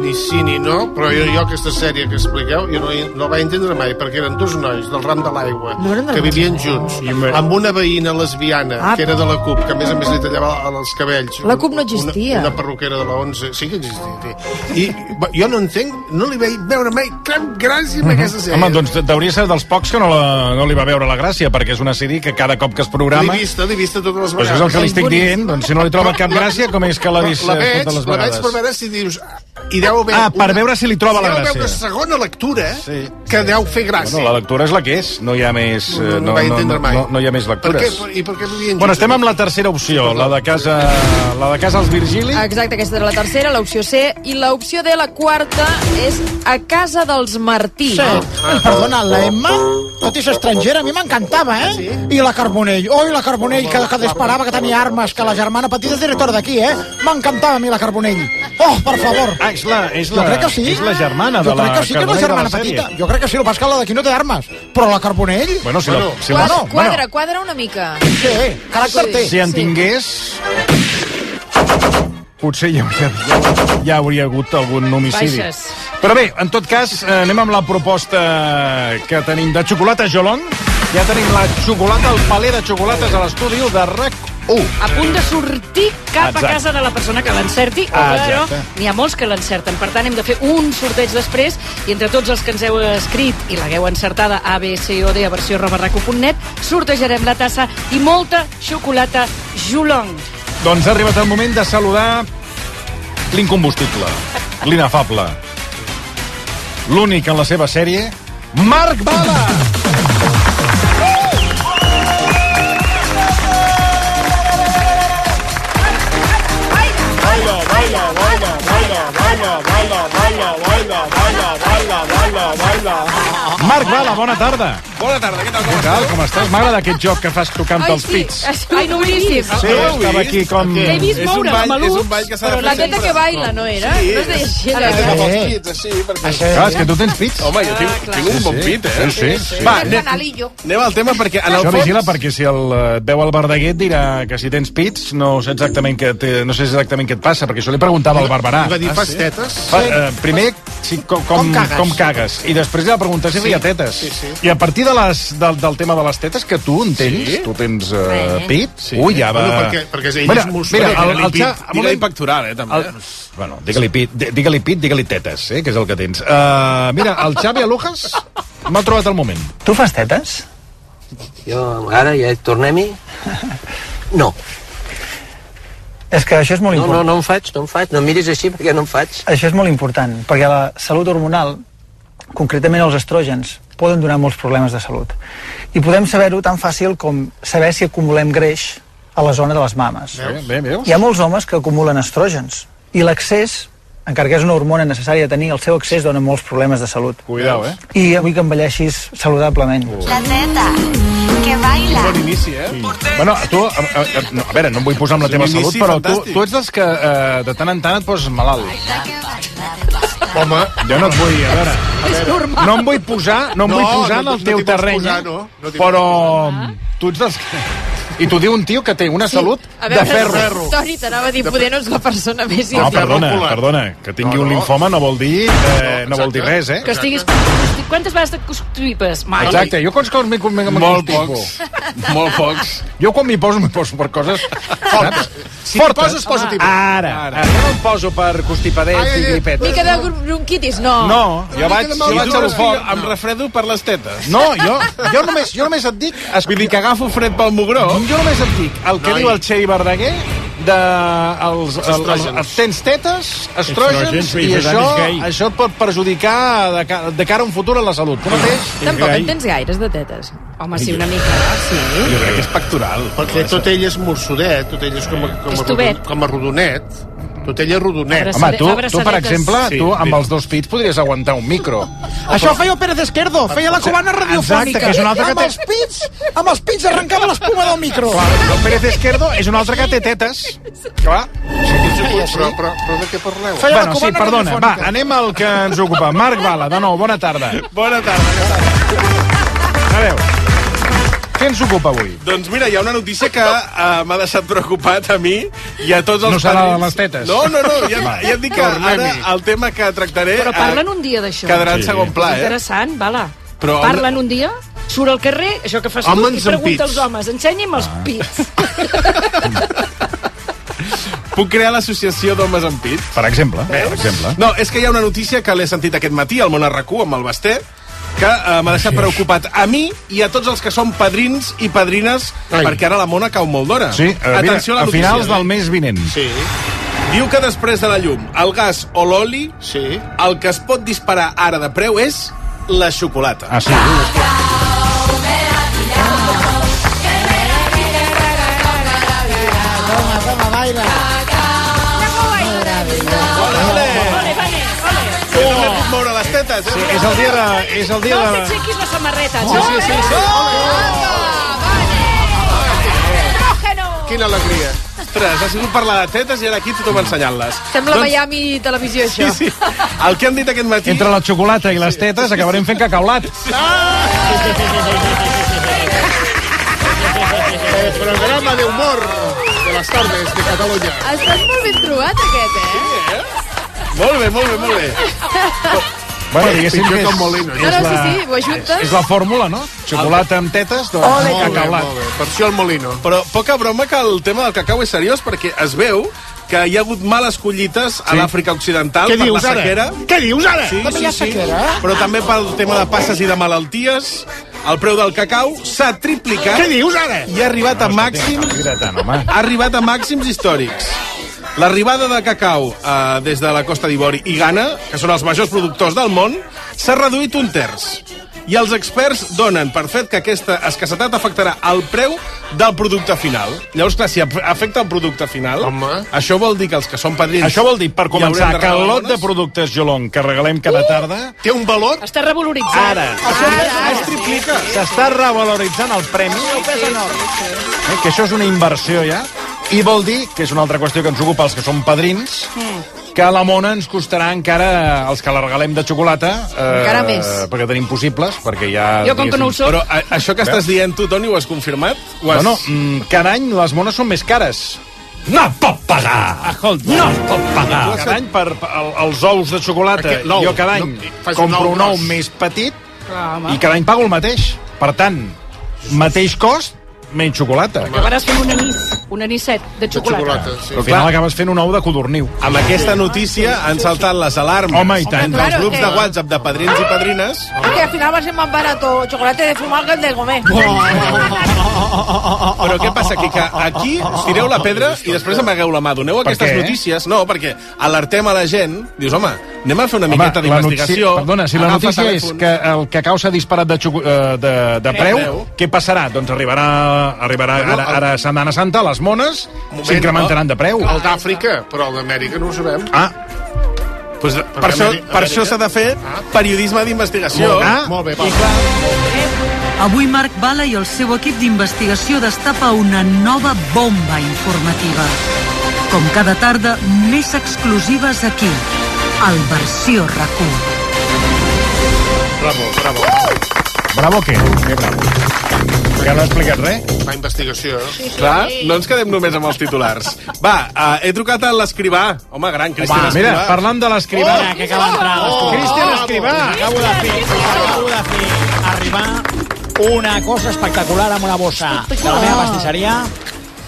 [SPEAKER 21] ni sí ni no, però jo, jo aquesta sèrie que expliqueu jo no, hi- no la vaig entendre mai, perquè eren dos nois del ram de l'aigua,
[SPEAKER 23] No eren del
[SPEAKER 21] que
[SPEAKER 23] Ram de
[SPEAKER 21] vivien junts,
[SPEAKER 18] Mm.
[SPEAKER 21] amb una veïna lesbiana,
[SPEAKER 23] Ah.
[SPEAKER 21] que era de la CUP, que a més a més li tallava els cabells.
[SPEAKER 23] La CUP no existia.
[SPEAKER 21] Una, una perruquera de la 11, sí que existia. Sí. I bo, jo no entenc, no li vaig veure mai cap gràcia amb aquesta sèrie.
[SPEAKER 18] Home, doncs deuria ser dels pocs que no, la, no li va veure la gràcia, perquè és una sèrie que cada cop que es
[SPEAKER 21] L'he
[SPEAKER 18] programa...
[SPEAKER 21] vista, l'he vista eh? totes les
[SPEAKER 18] Doncs és
[SPEAKER 21] vegades.
[SPEAKER 18] el que li estic dient, doncs si no li troba cap
[SPEAKER 21] La-
[SPEAKER 18] gràcia, com és que l'ha vist
[SPEAKER 21] la
[SPEAKER 18] eh,
[SPEAKER 21] veig,
[SPEAKER 18] totes les
[SPEAKER 21] la veig
[SPEAKER 18] vegades?
[SPEAKER 21] per veure si dius... I deu haver
[SPEAKER 18] Ah, per veure si li troba
[SPEAKER 21] si
[SPEAKER 18] la
[SPEAKER 21] deu haver
[SPEAKER 18] gràcia.
[SPEAKER 21] una segona lectura sí, que deu fer gràcia.
[SPEAKER 18] Bueno, la lectura és la que és, no hi ha més... eh,
[SPEAKER 21] no
[SPEAKER 18] No,
[SPEAKER 21] vaig
[SPEAKER 18] no,
[SPEAKER 21] entendre
[SPEAKER 18] no,
[SPEAKER 21] mai.
[SPEAKER 18] no, no hi ha més
[SPEAKER 21] per què,
[SPEAKER 18] lectures.
[SPEAKER 21] I per què vivien
[SPEAKER 18] Bueno, estem amb la tercera opció, la de casa, la de casa els Virgili.
[SPEAKER 22] Exacte, aquesta era la tercera, l'opció C. I l'opció D, la quarta, és a casa dels Martí.
[SPEAKER 23] Sí. Ai, Ah. perdona, la Emma, tot i ser estrangera, a mi m'encantava, eh? Sí. I la Carbonell, oi, la Carbonell, que, que disparava, que tenia armes, que la germana petita és directora d'aquí, eh? M'encantava a mi la Carbonell.
[SPEAKER 14] Oh, per favor!
[SPEAKER 18] Ah, és la, és la,
[SPEAKER 14] jo crec que sí.
[SPEAKER 18] És la germana
[SPEAKER 14] jo
[SPEAKER 18] de la
[SPEAKER 14] crec que sí que és la
[SPEAKER 18] Carbonell de
[SPEAKER 14] germana
[SPEAKER 18] sèrie.
[SPEAKER 14] petita. Jo crec que sí, el que passa és que la d'aquí no té armes. Però la Carbonell...
[SPEAKER 18] Bueno, si la- Bueno, si la-
[SPEAKER 22] Quadra,
[SPEAKER 18] Bueno,
[SPEAKER 22] quadra, quadra una mica.
[SPEAKER 14] Sí, caràcter té.
[SPEAKER 18] Si en tingués... Potser hi hauria, hi hauria hagut algun homicidi.
[SPEAKER 19] Baixes.
[SPEAKER 18] Però bé, en tot cas, eh, anem amb la proposta que tenim de xocolata Jolong. Ja tenim la xocolata, el paler de xocolates a l'estudi de RAC1.
[SPEAKER 19] A punt de sortir cap
[SPEAKER 18] Exacte.
[SPEAKER 19] a casa de la persona que l'encerti, o
[SPEAKER 18] Ah,
[SPEAKER 19] però
[SPEAKER 18] exacte.
[SPEAKER 19] n'hi ha molts que l'encerten. Per tant, hem de fer un sorteig després i entre tots els que ens heu escrit i l'hagueu encertada a b, c o d a versió robarraco.net, sortejarem la tassa i molta xocolata Julong.
[SPEAKER 18] Doncs ha arribat el moment de saludar l'incombustible, l'inefable, l'únic en la seva sèrie, Marc Bala!
[SPEAKER 3] Baila, baila, baila, baila, baila, baila, baila, baila, baila, baila, baila, baila.
[SPEAKER 18] Marc Bala, bona tarda!
[SPEAKER 20] Bona tarda, què tal?
[SPEAKER 18] Què tal, com estàs? M'agrada aquest joc que fas tocant els pits.
[SPEAKER 22] Ai, no ho he vist.
[SPEAKER 18] Sí, estava aquí com...
[SPEAKER 22] L'he vist moure, amb malucs, però la neta que baila, no era?
[SPEAKER 20] Sí.
[SPEAKER 22] No es deia així,
[SPEAKER 20] Ara
[SPEAKER 22] allà.
[SPEAKER 20] agafo els pits, així, perquè...
[SPEAKER 18] Clar, és que tu tens pits.
[SPEAKER 20] Home, jo tinc, tinc un bon pit, eh?
[SPEAKER 18] Sí, sí. sí.
[SPEAKER 20] Va, anem, anem al tema, perquè en el
[SPEAKER 18] Això
[SPEAKER 20] fons...
[SPEAKER 18] vigila perquè si el eh, et veu el Verdaguer et dirà que si tens pits no sé exactament què, té, no sé exactament què et passa, perquè això li preguntava al Barberà.
[SPEAKER 21] Li va dir,
[SPEAKER 18] Ah,
[SPEAKER 21] "Fas
[SPEAKER 18] sí?
[SPEAKER 21] tetes?"
[SPEAKER 18] Fa,
[SPEAKER 21] Sí.
[SPEAKER 18] eh, primer, si, com, com,
[SPEAKER 21] Com
[SPEAKER 18] com,
[SPEAKER 21] cagues.
[SPEAKER 18] cagues. com cagues. I després li va preguntar si
[SPEAKER 21] Sí.
[SPEAKER 18] feia tetes.
[SPEAKER 21] Sí, sí.
[SPEAKER 18] I a partir de les, del, del tema de les tetes, que tu en tens,
[SPEAKER 20] Sí.
[SPEAKER 18] tu tens eh,
[SPEAKER 20] Bé.
[SPEAKER 18] pit, sí. ui, ja va...
[SPEAKER 20] Bueno, perquè- perquè ell
[SPEAKER 18] mira,
[SPEAKER 20] és musulmà,
[SPEAKER 18] mira, el,
[SPEAKER 20] digue-li
[SPEAKER 18] el,
[SPEAKER 20] pit,
[SPEAKER 18] xa- un
[SPEAKER 20] digue-li
[SPEAKER 18] moment.
[SPEAKER 20] pectoral, eh, també.
[SPEAKER 18] El, bueno, digue-li pit, di- digue-li pit, digue-li tetes, eh, que és el que tens. Uh, mira, el Xavi Alujas m'ha trobat el moment.
[SPEAKER 25] Tu fas tetes? Jo, ara, ja tornem-hi. No.
[SPEAKER 26] És que això és molt
[SPEAKER 25] No, no,
[SPEAKER 26] important.
[SPEAKER 25] no em faig, no em faig. No em miris així perquè no em faig.
[SPEAKER 26] Això és molt important, perquè la salut hormonal, concretament els estrògens, poden donar molts problemes de salut. I podem saber-ho tan fàcil com saber si acumulem greix a la zona de les mames.
[SPEAKER 18] Bé, bé, veus?
[SPEAKER 26] Hi ha molts homes que acumulen estrògens i l'accés, encara que és una hormona necessària de tenir, el seu accés dona molts problemes de salut.
[SPEAKER 18] Cuidao, eh?
[SPEAKER 26] I vull que envelleixis saludablement.
[SPEAKER 27] La teta, que baila.
[SPEAKER 18] Bon inici, eh? Bueno, tu, a, a, a, no, a veure, no em vull posar amb la
[SPEAKER 20] És un
[SPEAKER 18] teva
[SPEAKER 20] inici
[SPEAKER 18] salut, però tu,
[SPEAKER 20] fantàstic.
[SPEAKER 18] tu ets dels que eh, de tant en tant et poses malalt. Home, jo no et vull, a veure...
[SPEAKER 20] És normal.
[SPEAKER 18] No em vull posar, no em
[SPEAKER 20] No,
[SPEAKER 18] vull posar
[SPEAKER 20] no,
[SPEAKER 18] en el
[SPEAKER 20] no
[SPEAKER 18] teu
[SPEAKER 20] t'hi pots
[SPEAKER 18] terreny,
[SPEAKER 20] posar,
[SPEAKER 18] eh?
[SPEAKER 20] no, no t'hi pots
[SPEAKER 18] però tu ets dels que... I t'ho diu un tio que té una
[SPEAKER 22] Sí.
[SPEAKER 18] salut
[SPEAKER 22] A veure,
[SPEAKER 18] de ferro.
[SPEAKER 22] Toni, t'anava a dir,
[SPEAKER 18] De
[SPEAKER 22] poder no és la persona més
[SPEAKER 18] No, perdona,
[SPEAKER 22] intel·ligent.
[SPEAKER 18] perdona, que tingui un linfoma no vol dir, eh, no vol dir res, eh?
[SPEAKER 19] Que estiguis... Quantes vegades et constipes? Mai.
[SPEAKER 18] Exacte, jo quants cops m'he m'he- m'he
[SPEAKER 20] Molt
[SPEAKER 18] constipo?
[SPEAKER 20] pocs. Molt pocs.
[SPEAKER 18] Jo quan m'hi poso, m'hi poso per coses... Fortes.
[SPEAKER 20] Si t'hi poses, posa-t'hi bé.
[SPEAKER 18] Ara, ara. Jo no em poso per
[SPEAKER 20] Ai,
[SPEAKER 18] constipadets
[SPEAKER 20] ai,
[SPEAKER 18] i
[SPEAKER 20] ai.
[SPEAKER 18] gripets.
[SPEAKER 22] Mica de bronquitis, no.
[SPEAKER 18] No, jo vaig, jo vaig al foc.
[SPEAKER 20] Em refredo per les tetes.
[SPEAKER 18] No, jo, jo, només, jo només et dic... Es... Vull dir que agafo fred pel mugró. Jo només et dic el que
[SPEAKER 20] Noi.
[SPEAKER 18] diu el Xeri Verdaguer de els, els, els,
[SPEAKER 20] estrògens.
[SPEAKER 18] els, tens tetes,
[SPEAKER 20] Estrògens,
[SPEAKER 18] estrògens, i
[SPEAKER 20] sí, per tant,
[SPEAKER 18] això,
[SPEAKER 20] és gai.
[SPEAKER 18] això et pot perjudicar de, ca, de cara a un futur a la salut. Tu mateix...
[SPEAKER 22] Tampoc en tens gaires de tetes. Home, sí, una mica, sí.
[SPEAKER 18] Jo crec que és pectoral.
[SPEAKER 21] Ah, Perquè tot ell és morsudet, tot ell és com a, com a,
[SPEAKER 22] És
[SPEAKER 21] rodon,
[SPEAKER 22] tubet.
[SPEAKER 21] com a rodonet. Tot ell és rodonet.
[SPEAKER 18] Home, tu, tu, per exemple, tu amb els dos pits podries aguantar un micro.
[SPEAKER 14] Això feia el Pérez Esquerdo, feia la cubana
[SPEAKER 18] Exacte,
[SPEAKER 14] radiofònica.
[SPEAKER 18] que és una altra que
[SPEAKER 14] amb
[SPEAKER 18] té-
[SPEAKER 14] els pits, amb els pits arrencava l'espuma del micro.
[SPEAKER 18] El Pérez Esquerdo és un altre que té tetes. Clar.
[SPEAKER 21] Però, però, però de què parleu?
[SPEAKER 18] Feia bueno, sí, perdona. Va, anem al que ens ocupa. Marc Bala, de nou, bona tarda.
[SPEAKER 20] Bona tarda.
[SPEAKER 18] A veure, què ens ocupa avui?
[SPEAKER 20] Doncs mira, hi ha una notícia que uh, m'ha deixat preocupat a mi i a tots els
[SPEAKER 18] No serà
[SPEAKER 20] padrins.
[SPEAKER 18] de les tetes.
[SPEAKER 20] No, no, no, ja,
[SPEAKER 18] Va.
[SPEAKER 20] ja et dic que ara
[SPEAKER 19] Tornem-hi.
[SPEAKER 20] el tema que tractaré...
[SPEAKER 19] Però
[SPEAKER 20] eh,
[SPEAKER 19] parlen un dia d'això.
[SPEAKER 20] quedarà en Sí. segon pla, eh?
[SPEAKER 19] Interessant, vala.
[SPEAKER 20] Però
[SPEAKER 19] Però
[SPEAKER 20] home-
[SPEAKER 19] parlen un dia, surt al carrer, això que fas tu,
[SPEAKER 20] Homes
[SPEAKER 19] i
[SPEAKER 20] amb
[SPEAKER 19] pregunta
[SPEAKER 20] Ah.
[SPEAKER 19] als homes, ensenya'm els pits.
[SPEAKER 20] Puc crear l'associació d'homes amb pit? Eh?
[SPEAKER 18] Per exemple. Per exemple.
[SPEAKER 20] No, és que hi ha una notícia que l'he sentit aquest matí al món RQ amb el Basté, que eh, m'ha deixat preocupat a mi i a tots els que som padrins i padrines,
[SPEAKER 18] Ai.
[SPEAKER 20] perquè ara la Mona cau molt d'hora.
[SPEAKER 18] Sí, a, mira,
[SPEAKER 20] Atenció a la
[SPEAKER 18] a
[SPEAKER 20] notícia. eh?
[SPEAKER 18] finals del mes vinent.
[SPEAKER 20] Sí. Diu que després de la llum, el gas o l'oli, sí. el que es pot disparar ara de preu és la xocolata.
[SPEAKER 18] Ah, sí?
[SPEAKER 14] Toma, toma, baila.
[SPEAKER 20] Que no m'he puc moure les tetes. Eh? Sí,
[SPEAKER 18] és el dia de... És el dia
[SPEAKER 19] No
[SPEAKER 18] de...
[SPEAKER 19] t'aixequis la samarreta. eh?
[SPEAKER 20] Sí, eh. sí, sí, sí.
[SPEAKER 19] Oh!
[SPEAKER 21] Quina alegria.
[SPEAKER 20] Ostres, ha sigut parlar de tetes i ara aquí tothom ensenyant-les.
[SPEAKER 22] Sembla Miami Televisió, això.
[SPEAKER 20] Doncs- Sí, sí. El que hem dit aquest matí...
[SPEAKER 18] Entre la xocolata i les tetes acabarem fent cacaulat.
[SPEAKER 21] El programa de humor de las tardes de Catalunya.
[SPEAKER 22] Estàs molt ben trobat, aquest, eh?
[SPEAKER 21] Molt bé, molt bé, molt bé.
[SPEAKER 18] Bueno, diguéssim
[SPEAKER 21] Pitjor
[SPEAKER 18] que és,
[SPEAKER 21] que un molino,
[SPEAKER 22] No, no, sí, sí, ho ajuntes.
[SPEAKER 18] és la fórmula, no? Xocolata amb tetes, doncs
[SPEAKER 20] Ole.
[SPEAKER 18] Ole. cacaulat.
[SPEAKER 20] Molt bé, Per això el molino. Però poca broma que el tema del cacau és seriós perquè es veu que hi ha hagut males collites a l'Àfrica Occidental
[SPEAKER 21] Què
[SPEAKER 20] per
[SPEAKER 21] dius,
[SPEAKER 20] la
[SPEAKER 21] ara?
[SPEAKER 20] sequera.
[SPEAKER 21] Què dius, ara?
[SPEAKER 20] Sí,
[SPEAKER 21] També
[SPEAKER 20] sí,
[SPEAKER 21] hi ha
[SPEAKER 20] sí.
[SPEAKER 21] sequera, eh?
[SPEAKER 20] Però també pel tema de passes i de malalties, el preu del cacau s'ha triplicat.
[SPEAKER 21] Què dius, ara?
[SPEAKER 20] I ha arribat a màxims...
[SPEAKER 18] Ah,
[SPEAKER 20] Ha arribat a màxims històrics. L'arribada de cacau eh, des de la Costa d'Ivori i Ghana, que són els majors productors del món, s'ha reduït un terç. I els experts donen per fet que aquesta escassetat afectarà el preu del producte final. Llavors, clar, si af- afecta el producte final, Home. això vol dir que els que són padrins...
[SPEAKER 18] Això vol dir, per
[SPEAKER 20] hi haurem
[SPEAKER 18] començar,
[SPEAKER 20] de Uh!
[SPEAKER 18] que el
[SPEAKER 20] regalar
[SPEAKER 18] lot de
[SPEAKER 20] bones.
[SPEAKER 18] productes Jolong que regalem cada tarda
[SPEAKER 21] Té un valor?
[SPEAKER 19] Està revaloritzat.
[SPEAKER 18] Ara. s'està revaloritzant el premi, eh, que això és una inversió ja, i vol dir, que és una altra qüestió que ens ocupa els que som padrins,
[SPEAKER 21] Mm.
[SPEAKER 18] que la mona ens costarà encara, els que la regalem de xocolata... Eh,
[SPEAKER 22] Encara més.
[SPEAKER 18] Perquè tenim possibles, perquè ja...
[SPEAKER 19] Jo, com que no ho soc.
[SPEAKER 20] Però a, això que estàs dient tu, Toni, ho has confirmat? Ho has...
[SPEAKER 18] No, no, mm, cada any les mones són més cares. No pot pagar! Escolta, no pot pagar! Cada any per, per el, els ous de xocolata,
[SPEAKER 21] Aquest- l'ou,
[SPEAKER 18] jo cada
[SPEAKER 21] no,
[SPEAKER 18] any
[SPEAKER 21] fas un
[SPEAKER 18] compro
[SPEAKER 21] ou
[SPEAKER 18] un ou
[SPEAKER 21] gros.
[SPEAKER 18] més petit i cada any pago el mateix. Per tant, mateix cost, menys xocolata.
[SPEAKER 19] Acabaràs fent un anís, un anisset de xocolata.
[SPEAKER 20] sí.
[SPEAKER 18] Però al final acabes fent un ou de codorniu.
[SPEAKER 20] Amb aquesta notícia han saltat les alarmes.
[SPEAKER 18] Home, i tant.
[SPEAKER 20] Dels
[SPEAKER 24] claro,
[SPEAKER 20] grups
[SPEAKER 24] que-
[SPEAKER 20] de WhatsApp de padrins i padrines.
[SPEAKER 24] Ah, Que al final va a ser más barato chocolate de fumar que el de comer.
[SPEAKER 20] Però què passa aquí? Que
[SPEAKER 18] Ah,
[SPEAKER 20] aquí us tireu la pedra i després amagueu la mà. Doneu
[SPEAKER 18] Per
[SPEAKER 20] aquestes
[SPEAKER 18] què?
[SPEAKER 20] notícies. No, perquè alertem a la gent. Dius, home, anem a fer una
[SPEAKER 18] Home,
[SPEAKER 20] miqueta
[SPEAKER 18] la notícia,
[SPEAKER 20] d'investigació.
[SPEAKER 18] perdona, si la
[SPEAKER 20] Agafa
[SPEAKER 18] notícia és
[SPEAKER 20] telèfon.
[SPEAKER 18] que el cacau s'ha disparat de, xoco- eh, de, de
[SPEAKER 20] De
[SPEAKER 18] preu,
[SPEAKER 20] preu.
[SPEAKER 18] què passarà? Doncs arribarà, arribarà
[SPEAKER 21] Bueno,
[SPEAKER 18] ara,
[SPEAKER 21] el-
[SPEAKER 18] ara Setmana Santa, les mones s'incrementaran de preu.
[SPEAKER 21] El d'Àfrica, però el d'Amèrica no ho sabem.
[SPEAKER 18] Ah,
[SPEAKER 20] Pues, per, això, per això s'ha de fer
[SPEAKER 21] Ah.
[SPEAKER 20] periodisme d'investigació.
[SPEAKER 21] Molt bé, Ah, molt bé, Pau.
[SPEAKER 12] Avui Marc Bala i el seu equip d'investigació destapa una nova bomba informativa. Com cada tarda, més exclusives aquí, al Versió RAC1.
[SPEAKER 21] Bravo, bravo.
[SPEAKER 18] Bravo, què? Que bravo. Que no ha explicat res?
[SPEAKER 21] La investigació. Sí,
[SPEAKER 20] Clar, no ens quedem només amb els titulars. Va, eh, he trucat a l'escrivà. Home, gran, Cristian
[SPEAKER 18] Home, mira, parlant de l'escrivà...
[SPEAKER 20] Oh!
[SPEAKER 18] que acaba d'entrar.
[SPEAKER 20] Oh!
[SPEAKER 18] Cristian Escrivà!
[SPEAKER 14] Acabo de fer, acabo de fer arribar una cosa espectacular amb una bossa de la meva pastisseria.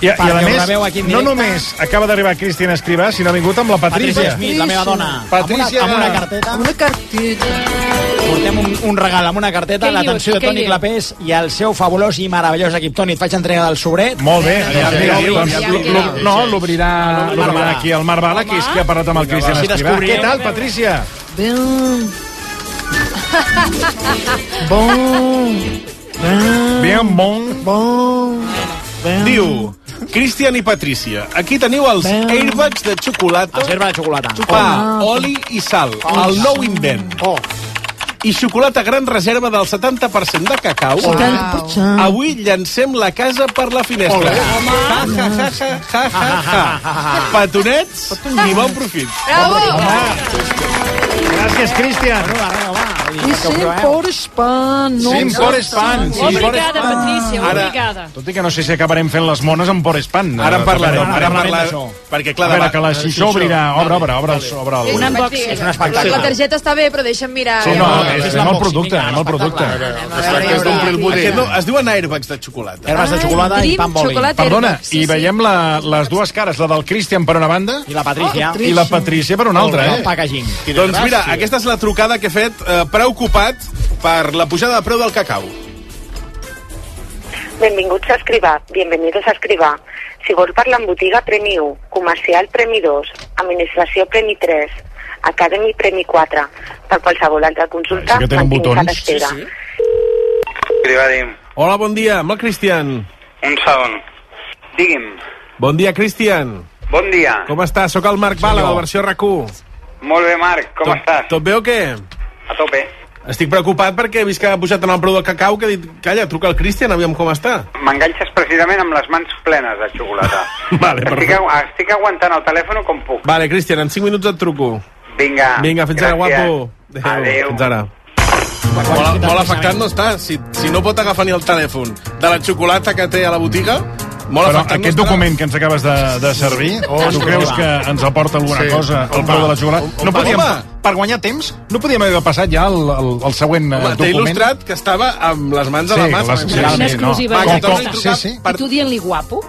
[SPEAKER 18] I, a- i a la
[SPEAKER 14] Perquè ho
[SPEAKER 18] més,
[SPEAKER 14] rebeu aquí en
[SPEAKER 18] no
[SPEAKER 14] directe.
[SPEAKER 18] només acaba d'arribar Cristian Escrivà, sinó ha vingut amb la Patrícia.
[SPEAKER 14] Patrícia Smith, la meva dona.
[SPEAKER 18] Patrícia...
[SPEAKER 14] Amb una, amb una carteta. Amb una carteta. Portem un, un regal amb una carteta,
[SPEAKER 18] Què
[SPEAKER 14] l'atenció
[SPEAKER 18] dius?
[SPEAKER 14] de
[SPEAKER 18] Què
[SPEAKER 14] Toni
[SPEAKER 18] dius?
[SPEAKER 14] Clapés i el seu fabulós i meravellós equip. Toni, et faig entrega del sobret.
[SPEAKER 18] Molt bé,
[SPEAKER 14] Ja,
[SPEAKER 18] aviam, mira,
[SPEAKER 14] ja, ja,
[SPEAKER 18] doncs,
[SPEAKER 14] ja,
[SPEAKER 18] l'ob-
[SPEAKER 14] ja,
[SPEAKER 18] l'ob-
[SPEAKER 14] ja.
[SPEAKER 18] no, l'obrirà l'obrirà
[SPEAKER 14] Bala.
[SPEAKER 18] aquí el Marc Bala, que és qui ha parlat amb el Cristian
[SPEAKER 14] Així
[SPEAKER 18] Escrivà.
[SPEAKER 14] descobrirem.
[SPEAKER 18] Què tal, Patrícia?
[SPEAKER 14] Bon.
[SPEAKER 18] Bien, bon.
[SPEAKER 14] Bon.
[SPEAKER 20] Diu, Cristian i Patrícia, aquí teniu els airbags de xocolata. Els
[SPEAKER 14] airbags de xocolata.
[SPEAKER 20] Pa, oli i sal, el nou invent.
[SPEAKER 14] Oh.
[SPEAKER 20] I xocolata gran reserva del 70% de cacau.
[SPEAKER 14] Wow. 70%.
[SPEAKER 20] Avui llancem la casa per la finestra.
[SPEAKER 14] Ole.
[SPEAKER 20] Ha, ha, ha, ha, ha, ha, ha. Petonets i bon profit.
[SPEAKER 18] Gràcies, Cristian.
[SPEAKER 22] I sin por pan.
[SPEAKER 18] Sin por span, sí.
[SPEAKER 22] Obrigada, Patricia,
[SPEAKER 18] Ara-
[SPEAKER 22] obrigada.
[SPEAKER 18] Tot i que no sé si acabarem fent les mones amb por span.
[SPEAKER 20] Ara en parlarem,
[SPEAKER 18] També,
[SPEAKER 20] ara en
[SPEAKER 18] parlarem
[SPEAKER 20] parlarem,
[SPEAKER 18] d'això.
[SPEAKER 20] perquè, clar,
[SPEAKER 18] A veure,
[SPEAKER 20] davant-
[SPEAKER 18] que la xixó obrirà... Obre, obre, obre, el- obre. el-
[SPEAKER 22] Un unboxing. La, la targeta està bé, però deixa'm mirar.
[SPEAKER 18] Sí, no,
[SPEAKER 22] Ja.
[SPEAKER 18] és, és el producte, és el producte.
[SPEAKER 20] Aquest no, es diuen airbags de xocolata. Ah,
[SPEAKER 14] Herbes de xocolata i pan boli.
[SPEAKER 18] Perdona, i veiem la, les dues cares, la del Christian per una banda... I
[SPEAKER 14] la Patrícia.
[SPEAKER 18] I la Patrícia per una altra, eh?
[SPEAKER 14] packaging.
[SPEAKER 20] Doncs mira, aquesta és la trucada que he fet eh, preocupat per la pujada de preu del cacau.
[SPEAKER 28] Benvinguts a Escrivà, bienvenidos a Escrivà. Si vol parlar amb botiga, premi 1, comercial, premi 2, administració, premi 3, academy, premi 4. Per qualsevol altra consulta,
[SPEAKER 20] Ah, sí que tenen
[SPEAKER 28] mantinguis a
[SPEAKER 20] botons.
[SPEAKER 28] l'espera.
[SPEAKER 20] Sí,
[SPEAKER 29] Cribadim,
[SPEAKER 20] Hola, bon dia, amb el Cristian.
[SPEAKER 29] un segon. Digui'm,
[SPEAKER 20] Bon dia, Cristian.
[SPEAKER 29] bon dia.
[SPEAKER 20] Com estàs? Sóc el Marc Bala, de la versió RAC1.
[SPEAKER 29] Molt bé, Marc, com estàs?
[SPEAKER 20] Tot bé o què?
[SPEAKER 29] A tope.
[SPEAKER 20] Estic preocupat perquè he vist que ha pujat en el preu del cacau que he dit, calla, truca al Christian, aviam com està.
[SPEAKER 29] M'enganxes precisament amb les mans plenes de xocolata.
[SPEAKER 20] Vale,
[SPEAKER 29] estic,
[SPEAKER 20] perfecte.
[SPEAKER 29] agu estic aguantant el telèfon com puc.
[SPEAKER 20] Vale, Christian, en 5 minuts et truco.
[SPEAKER 29] Vinga.
[SPEAKER 20] Vinga, fins ara,
[SPEAKER 29] Ah, gràcies.
[SPEAKER 20] guapo. Adéu.
[SPEAKER 29] Adéu.
[SPEAKER 20] Fins ara. Molt, molt afectat no està. Si, si no pot agafar ni el telèfon de la xocolata que té a la botiga, molt
[SPEAKER 18] Però
[SPEAKER 20] afectat
[SPEAKER 18] aquest
[SPEAKER 20] no estarà.
[SPEAKER 18] document que ens acabes de, de servir, o
[SPEAKER 20] Ah,
[SPEAKER 18] tu
[SPEAKER 20] sí,
[SPEAKER 18] creus
[SPEAKER 20] va.
[SPEAKER 18] que ens aporta alguna
[SPEAKER 20] Sí.
[SPEAKER 18] cosa
[SPEAKER 20] On
[SPEAKER 18] al preu
[SPEAKER 20] va?
[SPEAKER 18] de la xocolata?
[SPEAKER 20] On- on
[SPEAKER 18] No
[SPEAKER 20] va?
[SPEAKER 18] podíem,
[SPEAKER 20] Home.
[SPEAKER 18] per guanyar temps, no podíem haver passat ja al, al, al següent eh,
[SPEAKER 20] Home, T'he
[SPEAKER 18] document.
[SPEAKER 20] il·lustrat que estava amb les mans a la
[SPEAKER 18] Sí,
[SPEAKER 20] mà.
[SPEAKER 18] les-
[SPEAKER 20] Va,
[SPEAKER 18] sí, sí,
[SPEAKER 20] que
[SPEAKER 18] no.
[SPEAKER 20] torni a
[SPEAKER 19] Va,
[SPEAKER 20] trucar
[SPEAKER 19] sí, sí. I tu dient-li guapo?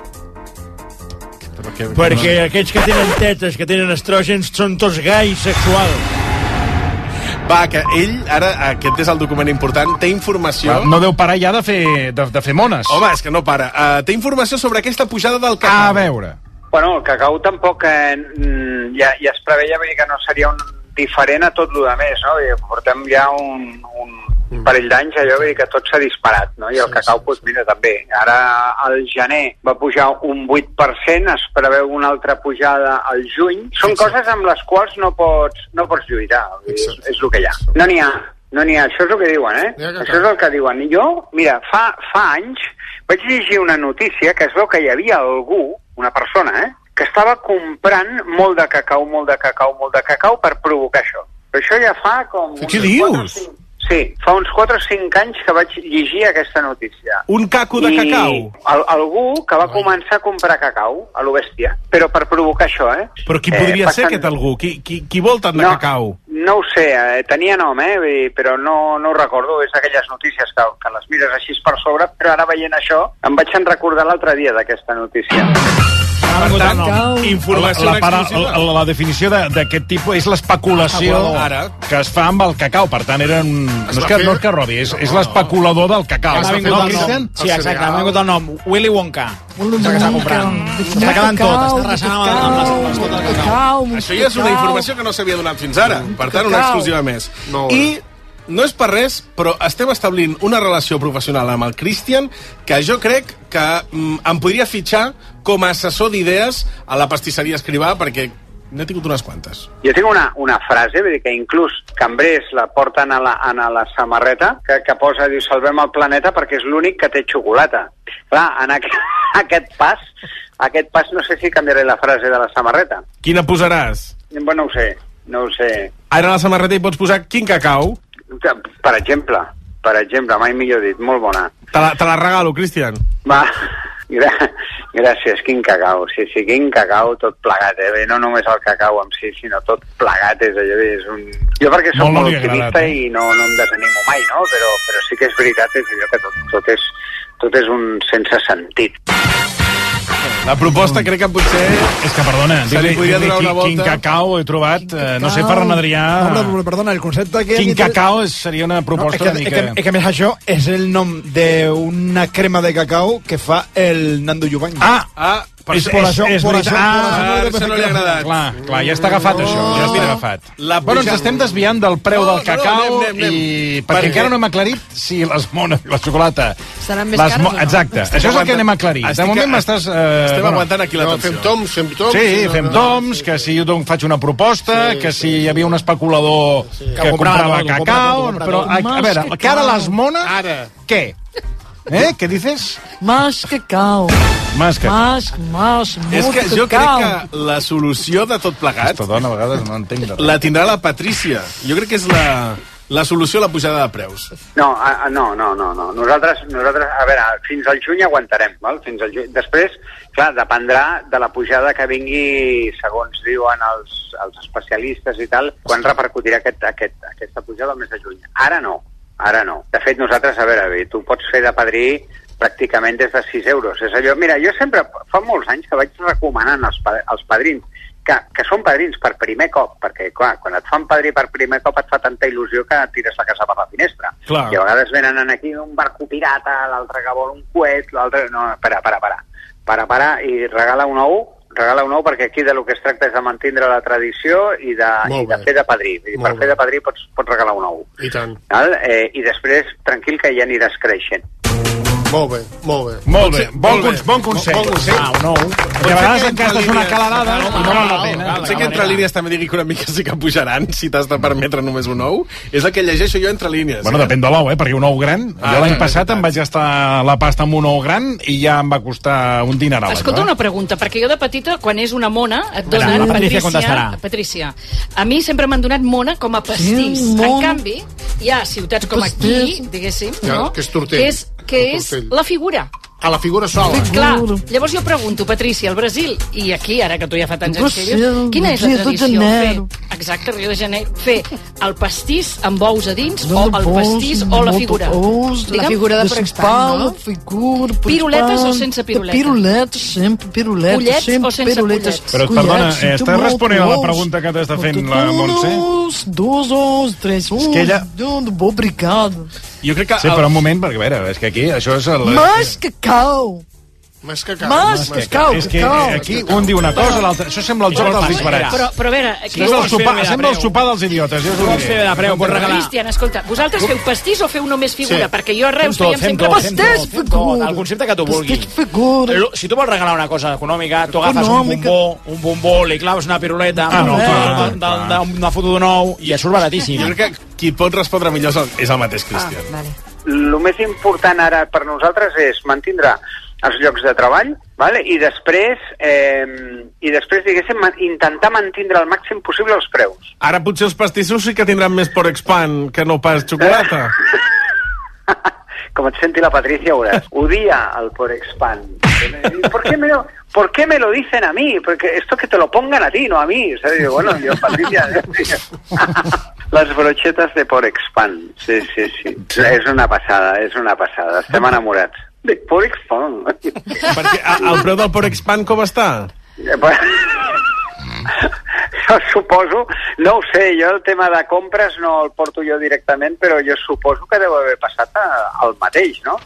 [SPEAKER 20] Perquè,
[SPEAKER 7] Perquè aquests que tenen tetes, que tenen estrògens, són tots gais sexuals.
[SPEAKER 20] Va, que ell, ara, aquest és el document important, té informació...
[SPEAKER 18] Va, No deu parar ja de fer, de, de fer mones.
[SPEAKER 20] Home, és que no para. Uh, té informació sobre aquesta pujada del cacau. A
[SPEAKER 18] veure.
[SPEAKER 29] Bueno, el cacau tampoc eh, mm, ja, ja es preveia, vull dir que no seria un diferent a tot el de més, no? Vull dir, portem ja un,
[SPEAKER 8] Mm.
[SPEAKER 29] un parell d'anys, allò, vull dir que tot s'ha disparat, no? I el cacau, doncs mira, també. Ara, al gener va pujar un 8%, es preveu una altra pujada al juny. Són coses amb les quals no pots, no pots lluitar, vull dir, és, és el que hi ha. No n'hi ha, no n'hi ha, això és el que diuen, eh?
[SPEAKER 8] N'hi ha cacau.
[SPEAKER 29] Això és el que diuen. I jo, mira, fa, fa anys vaig llegir una notícia que es veu que hi havia algú, una persona, eh? que estava comprant molt de cacau, molt de cacau, molt de cacau per provocar això. Però això ja fa com...
[SPEAKER 20] Què dius?
[SPEAKER 29] Sí, fa uns 4 o 5 anys que vaig llegir aquesta notícia.
[SPEAKER 20] Un caco de
[SPEAKER 29] I
[SPEAKER 20] cacau.
[SPEAKER 29] Al, algú que va començar a comprar cacau, a lo bèstia, però per provocar això, eh?
[SPEAKER 20] Però qui
[SPEAKER 29] Eh,
[SPEAKER 20] podria ser
[SPEAKER 29] passant-
[SPEAKER 20] aquest algú? Qui, qui, qui vol tant de
[SPEAKER 29] No.
[SPEAKER 20] cacau?
[SPEAKER 29] No ho sé, eh, tenia nom, eh, vull dir, però no, no ho recordo. És d'aquelles notícies que, que les mires així per sobre, però ara veient això em vaig en recordar l'altre dia d'aquesta notícia.
[SPEAKER 20] Per tant, informació
[SPEAKER 18] la, la, para-
[SPEAKER 20] exclusiva.
[SPEAKER 18] la, la definició de- d'aquest tipus és l'especulació
[SPEAKER 20] Especulador. Ara.
[SPEAKER 18] que es fa amb el cacau. Per tant, era un...
[SPEAKER 20] Es
[SPEAKER 18] no, és
[SPEAKER 20] va
[SPEAKER 18] que,
[SPEAKER 20] fer-
[SPEAKER 18] no és que robi, és, és l'especulador del cacau.
[SPEAKER 14] M'ha vingut el nom. Sí, exacte, m'ha vingut el nom. Willy Wonka. És el que està comprant. S'està quedant tot, està arrasant amb, amb les amb les tot el cacau.
[SPEAKER 20] Això ja és una informació que no s'havia donat fins ara. Per tant, una
[SPEAKER 14] Cacau.
[SPEAKER 20] exclusiva més. I no és per res, però estem establint una relació professional amb el Christian que jo crec que mm, em podria fitxar com a assessor d'idees a la pastisseria Escrivà, perquè n'he tingut unes quantes.
[SPEAKER 29] Jo tinc una, una frase, vull dir que inclús cambrers la porten a la, a la samarreta, que, que posa, diu, salvem el planeta perquè és l'únic que té xocolata. Clar, en aqu aquest pas, aquest pas no sé si canviaré la frase de la samarreta.
[SPEAKER 20] Quina posaràs?
[SPEAKER 29] Bueno, no ho sé, no ho sé.
[SPEAKER 20] Ara a la samarreta hi pots posar quin cacau?
[SPEAKER 29] Per exemple, per exemple, mai millor dit, molt bona.
[SPEAKER 20] Te la, te la regalo, Christian.
[SPEAKER 29] Va, gra gràcies, quin cacau. Sí, sí, quin cacau, tot plegat, eh? Bé, No només el cacau en si, sinó tot plegat és allò, és un... Jo perquè sóc
[SPEAKER 20] Molt no
[SPEAKER 29] molt,
[SPEAKER 20] li ha agradat, eh?
[SPEAKER 29] optimista i no, no em desanimo mai, no? Però, però sí que és veritat, és allò que tot, tot, és, tot és un sense sentit.
[SPEAKER 20] La proposta crec que potser...
[SPEAKER 18] És que, perdona,
[SPEAKER 20] Se li
[SPEAKER 18] dir-li
[SPEAKER 20] podria
[SPEAKER 18] dir
[SPEAKER 20] donar
[SPEAKER 18] quin,
[SPEAKER 20] una volta.
[SPEAKER 18] quin cacau he trobat. eh, No sé,
[SPEAKER 20] cacau.
[SPEAKER 18] Ferran Adrià...
[SPEAKER 30] Hombre, perdona, el concepte que...
[SPEAKER 18] Quin cacao és- seria una proposta
[SPEAKER 30] no, és
[SPEAKER 18] una
[SPEAKER 30] que,
[SPEAKER 18] mica...
[SPEAKER 30] És que, és que a més això és el nom d'una crema de cacao que fa el Nando Yubañez.
[SPEAKER 18] Ah!
[SPEAKER 20] Ah,
[SPEAKER 30] per és, per això, per això,
[SPEAKER 18] Ah,
[SPEAKER 30] per això,
[SPEAKER 18] això no li ha agradat. Clar, clar, ja està agafat,
[SPEAKER 20] No,
[SPEAKER 18] això. Ja està
[SPEAKER 20] Oh, mira,
[SPEAKER 18] agafat.
[SPEAKER 20] la
[SPEAKER 18] Bueno, ens
[SPEAKER 20] pujada-
[SPEAKER 18] estem desviant del preu
[SPEAKER 20] No, no,
[SPEAKER 18] del cacau
[SPEAKER 20] anem, anem,
[SPEAKER 18] i...
[SPEAKER 20] anem.
[SPEAKER 18] Perquè
[SPEAKER 20] Perquè-
[SPEAKER 18] encara no hem aclarit si les mones i la xocolata...
[SPEAKER 22] Seran més
[SPEAKER 18] les
[SPEAKER 22] cares
[SPEAKER 18] mo-
[SPEAKER 22] o no?
[SPEAKER 18] Exacte.
[SPEAKER 22] Estic
[SPEAKER 18] això és el que
[SPEAKER 22] aguantant-
[SPEAKER 18] anem a aclarir. De
[SPEAKER 20] estic
[SPEAKER 18] moment
[SPEAKER 20] a-
[SPEAKER 18] m'estàs... eh,
[SPEAKER 20] estem aguantant aquí la No, tensió. fem toms, fem toms,
[SPEAKER 18] Sí,
[SPEAKER 20] sí, no,
[SPEAKER 18] fem
[SPEAKER 20] no,
[SPEAKER 18] toms, que si jo doncs, faig una proposta, que si hi havia un especulador que comprava
[SPEAKER 20] tot, ho
[SPEAKER 18] cacau...
[SPEAKER 20] compra tot, ho compra
[SPEAKER 18] Però,
[SPEAKER 20] tot.
[SPEAKER 18] a, a
[SPEAKER 20] Mas
[SPEAKER 18] veure,
[SPEAKER 20] que
[SPEAKER 18] que ara
[SPEAKER 20] clau.
[SPEAKER 18] les
[SPEAKER 1] Ah,
[SPEAKER 18] mones...
[SPEAKER 20] Ara.
[SPEAKER 18] Què? Eh? Què dices?
[SPEAKER 23] Más cacao.
[SPEAKER 18] Más cacao.
[SPEAKER 23] Más, más,
[SPEAKER 20] És
[SPEAKER 23] molt
[SPEAKER 20] que jo
[SPEAKER 23] cacao.
[SPEAKER 20] crec que la solució de tot plegat... Aquesta
[SPEAKER 18] dona a vegades no entenc de
[SPEAKER 20] La tindrà la Patrícia. Jo crec que és la, la solució a la pujada de preus.
[SPEAKER 29] No, a, a, no, no, no, no. Nosaltres, nosaltres, a veure, fins al juny aguantarem, val? Fins al juny. Després, clar, dependrà de la pujada que vingui, segons diuen els, els especialistes i tal, quan repercutirà aquest, aquest, aquesta pujada al mes de juny. Ara no, ara no. De fet, nosaltres, a veure, bé, tu pots fer de padrí pràcticament des de 6 euros. És allò, mira, jo sempre, fa molts anys que vaig recomanant als, pa- als padrins que, que són padrins per primer cop, perquè, clar, quan et fan padrí per primer cop et fa tanta il·lusió que tires la casa per la finestra.
[SPEAKER 31] Clar.
[SPEAKER 29] I a vegades venen aquí un barco pirata, l'altre que vol un coet, l'altre... No, para, para, para. Para, para, i regala un ou, regala un ou perquè aquí de lo que es tracta és de mantenir la tradició i de, i
[SPEAKER 21] Molt
[SPEAKER 29] de
[SPEAKER 21] bé.
[SPEAKER 29] fer de padrí. I
[SPEAKER 21] Molt
[SPEAKER 29] per fer de padrí pots, pots regalar un ou.
[SPEAKER 21] I tant.
[SPEAKER 29] Val? Eh, I després, tranquil, que ja aniràs creixent.
[SPEAKER 21] Molt bé, molt bé.
[SPEAKER 18] Molt bé, bon,
[SPEAKER 21] Molt bé.
[SPEAKER 18] cons- bon consell.
[SPEAKER 21] Bon consell.
[SPEAKER 18] Ah, no.
[SPEAKER 21] Potser
[SPEAKER 18] Que a vegades
[SPEAKER 21] que
[SPEAKER 18] encastes
[SPEAKER 21] entre
[SPEAKER 18] una
[SPEAKER 21] línies-
[SPEAKER 18] calarada
[SPEAKER 21] No,
[SPEAKER 18] i no val la
[SPEAKER 21] no,
[SPEAKER 18] pena.
[SPEAKER 21] no,
[SPEAKER 18] Potser
[SPEAKER 21] no,
[SPEAKER 20] Sé que
[SPEAKER 21] no,
[SPEAKER 20] entre
[SPEAKER 21] no.
[SPEAKER 20] línies també digui que una mica sí que pujaran, si t'has de permetre només un ou. És el que llegeixo jo entre línies.
[SPEAKER 18] Bueno, depèn de l'ou, eh? Perquè un ou gran...
[SPEAKER 20] Ah,
[SPEAKER 18] jo l'any
[SPEAKER 20] és
[SPEAKER 18] passat em vaig gastar la pasta amb un ou gran i ja em va costar un dineral. eh?
[SPEAKER 19] Escolta una pregunta, perquè jo de petita, quan és una mona, et donen...
[SPEAKER 18] Mira, la Patrícia
[SPEAKER 19] Patrícia,
[SPEAKER 18] contestarà.
[SPEAKER 19] Patrícia, a mi sempre m'han donat mona com a pastís.
[SPEAKER 24] Mm, mona.
[SPEAKER 19] En canvi, hi ha ciutats com aquí, diguéssim,
[SPEAKER 21] Que-
[SPEAKER 19] no?
[SPEAKER 21] que és tortell.
[SPEAKER 19] Que és, que
[SPEAKER 21] El
[SPEAKER 19] és
[SPEAKER 21] tortell.
[SPEAKER 19] la figura.
[SPEAKER 21] A la figura sola.
[SPEAKER 19] Clar, llavors jo pregunto, Patrícia, al Brasil i aquí, ara que tu ja fa tants anys que hi vius,
[SPEAKER 23] Brasil,
[SPEAKER 19] quina és la
[SPEAKER 23] Rio de
[SPEAKER 19] tradició?
[SPEAKER 23] Janeiro.
[SPEAKER 19] Fer, exacte, Rio de Janeiro. Fer el pastís amb ous a dins o el
[SPEAKER 23] Ous,
[SPEAKER 19] pastís o la
[SPEAKER 23] molta
[SPEAKER 19] figura?
[SPEAKER 23] ous,
[SPEAKER 19] Digue'm,
[SPEAKER 23] principal, La figura,
[SPEAKER 19] Piruletes
[SPEAKER 23] principal.
[SPEAKER 19] o sense piruletes?
[SPEAKER 23] Piruletes, sempre piruletes.
[SPEAKER 19] Ullets
[SPEAKER 23] sempre
[SPEAKER 19] o sense
[SPEAKER 23] piruletes.
[SPEAKER 19] ullets?
[SPEAKER 18] Però, perdona,
[SPEAKER 23] Ullets,
[SPEAKER 18] eh, estàs
[SPEAKER 23] molt
[SPEAKER 18] responent a la
[SPEAKER 23] ous.
[SPEAKER 18] pregunta que t'està fent la
[SPEAKER 23] Un
[SPEAKER 18] Montse?
[SPEAKER 23] ous, dos ous, tres ous.
[SPEAKER 18] que ella-
[SPEAKER 23] un, um, obrigado.
[SPEAKER 18] Jo crec que... Sí, però un moment, perquè, a veure, és que aquí això és... El...
[SPEAKER 23] Mas cacau.
[SPEAKER 21] Més que
[SPEAKER 23] Mas cacau,
[SPEAKER 18] és que
[SPEAKER 23] cacau.
[SPEAKER 18] aquí un diu una cosa, l'altra... Això sembla el joc dels disbarats.
[SPEAKER 19] Però, però a veure...
[SPEAKER 18] Sí, és el sopar, sembla el sopar dels idiotes. Jo us ho
[SPEAKER 14] Pots
[SPEAKER 18] diré.
[SPEAKER 14] fer de preu, pots regalar.
[SPEAKER 19] Cristian, escolta, vosaltres feu pastís o feu només figura?
[SPEAKER 14] Sí.
[SPEAKER 19] Perquè jo a Reus
[SPEAKER 14] Fem tot,
[SPEAKER 19] fèiem
[SPEAKER 14] fem
[SPEAKER 19] sempre
[SPEAKER 14] tot, fem tot,
[SPEAKER 19] pastís.
[SPEAKER 14] fem tot, El concepte que tu vulguis. Lo- Si tu vols regalar una cosa econòmica, tu agafes un
[SPEAKER 18] Econòmica.
[SPEAKER 14] bombó, un bombó, li claves una piruleta,
[SPEAKER 18] Ah, no,
[SPEAKER 14] un-
[SPEAKER 18] clar,
[SPEAKER 14] un- d'un- d'un- una foto d'un ou, i et surt baratíssim.
[SPEAKER 20] Jo crec que qui pot respondre millor és el, és el mateix Cristian. Ah,
[SPEAKER 19] vale.
[SPEAKER 29] El més important ara per nosaltres és mantindre els llocs de treball vale? i després, eh, i després diguéssim, ma- intentar mantindre el màxim possible els preus.
[SPEAKER 20] Ara potser els pastissos sí que tindran més por expand que no pas xocolata.
[SPEAKER 29] Com et senti la Patricia, veuràs. Odia el Porexpan. ¿Por qué, me lo, ¿Por qué me lo dicen a mí? Porque esto que te lo pongan a ti, no a mí. ¿sabes? Digo, Bueno, yo, Patricia... Les brochetes de Porexpan. Sí, sí, sí. És una passada, és una passada. Estem enamorats. De Porexpan.
[SPEAKER 20] Perquè a, el preu del por expand com està?
[SPEAKER 29] Eh, bueno, jo suposo, no ho sé, jo el tema de compres no el porto jo directament, però jo suposo que deu haver passat eh, el mateix, no?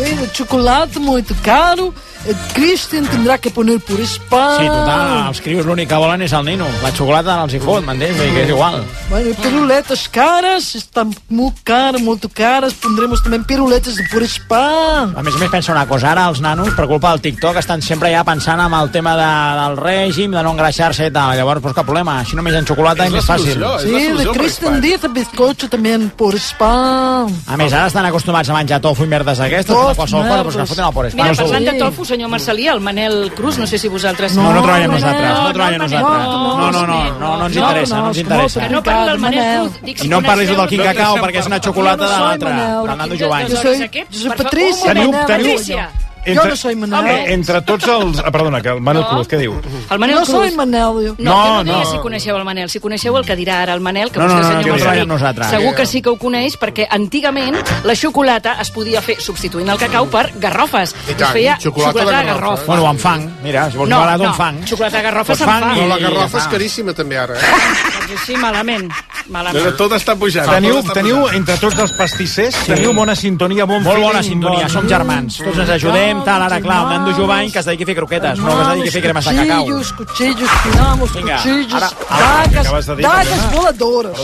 [SPEAKER 23] Eh, chocolate muito caro. Eh, Christian tendrá que poner por spam.
[SPEAKER 14] Sí, total, els crios l'únic que volen és el nino. La xocolata no els hi fot, m'entens? Vull dir que és igual.
[SPEAKER 23] Bueno, piruletas caras, están muy caras, muito caras. Pondremos também piruletas de por spam.
[SPEAKER 14] A més a més, pensa una cosa, ara els nanos, per culpa del TikTok, estan sempre ja pensant en el tema de, del règim, de no engreixar-se i tal. Llavors, doncs cap problema, així només en xocolata és, més fàcil.
[SPEAKER 23] Sí, de Christian Dita Biscocho também por spam.
[SPEAKER 14] A més, ara estan acostumats a menjar tofu i merdes aquestes, però
[SPEAKER 23] Tofu,
[SPEAKER 14] qualsevol cosa, però que
[SPEAKER 23] merdes.
[SPEAKER 14] foten el por espant.
[SPEAKER 19] Mira, parlant de tofu, senyor Marcelí, el Manel Cruz, no sé si vosaltres...
[SPEAKER 14] No, no treballem nosaltres, no treballem nosaltres. No, no, no, no, no ens interessa, no ens interessa.
[SPEAKER 19] Que no parli del Manel Cruz. Dic, si
[SPEAKER 14] I no em parlis
[SPEAKER 19] coneixeu-
[SPEAKER 14] del Quim Cacao, perquè és una xocolata de l'altra, del Nando Jovany.
[SPEAKER 19] Jo soy- jo soy Patricia,
[SPEAKER 18] Teniu,
[SPEAKER 19] Manel,
[SPEAKER 18] teniu,
[SPEAKER 19] Patricia.
[SPEAKER 23] Jo no soy Manel.
[SPEAKER 18] Eh, Entre tots els... Ah, perdona, que el Manel
[SPEAKER 19] No.
[SPEAKER 18] Cruz, què diu?
[SPEAKER 19] El Manel
[SPEAKER 23] no soy
[SPEAKER 19] Cruz.
[SPEAKER 23] Manel. jo.
[SPEAKER 19] No,
[SPEAKER 18] No,
[SPEAKER 19] no, no,
[SPEAKER 18] no.
[SPEAKER 19] no. si coneixeu el Manel, si coneixeu el que dirà ara el Manel, que
[SPEAKER 18] No, no,
[SPEAKER 19] vostè,
[SPEAKER 18] no,
[SPEAKER 19] senyor
[SPEAKER 18] que ho
[SPEAKER 19] Marcelí,
[SPEAKER 18] sabem nosaltres.
[SPEAKER 19] segur que sí que ho coneix, perquè antigament la xocolata es podia fer substituint el cacau per garrofes.
[SPEAKER 14] I
[SPEAKER 19] es
[SPEAKER 14] tant,
[SPEAKER 19] feia
[SPEAKER 14] xocolata de
[SPEAKER 19] xocolata de
[SPEAKER 14] garrofa.
[SPEAKER 19] garrofa.
[SPEAKER 14] Bueno, amb fang, mira, si vols barat, amb fang.
[SPEAKER 19] xocolata de garrofa
[SPEAKER 14] Pues
[SPEAKER 19] se'n
[SPEAKER 14] fang
[SPEAKER 19] fa.
[SPEAKER 14] i-
[SPEAKER 21] Però la garrofa és
[SPEAKER 14] Ah.
[SPEAKER 21] caríssima, també, ara. Eh?
[SPEAKER 19] Doncs així, malament. malament.
[SPEAKER 20] Tot està pujant.
[SPEAKER 18] Teniu,
[SPEAKER 20] Tot està
[SPEAKER 18] teniu entre tots els pastissers, sí. teniu bona sintonia, bon
[SPEAKER 14] Molt bona
[SPEAKER 18] feeling,
[SPEAKER 14] sintonia,
[SPEAKER 18] bon-
[SPEAKER 14] som germans. Tots ens ajudem, tal, ara, clar, el Nando Jovany, que es dediqui a fer croquetes, no que es dediqui a fer cremes de cacau.
[SPEAKER 23] Cuchillos, cuchillos, cuidamos,
[SPEAKER 14] Vinga,
[SPEAKER 23] cuchillos,
[SPEAKER 14] ara-
[SPEAKER 18] ara,
[SPEAKER 23] dagas,
[SPEAKER 18] acabes de dir,
[SPEAKER 23] dagas
[SPEAKER 18] perdona.
[SPEAKER 23] voladoras.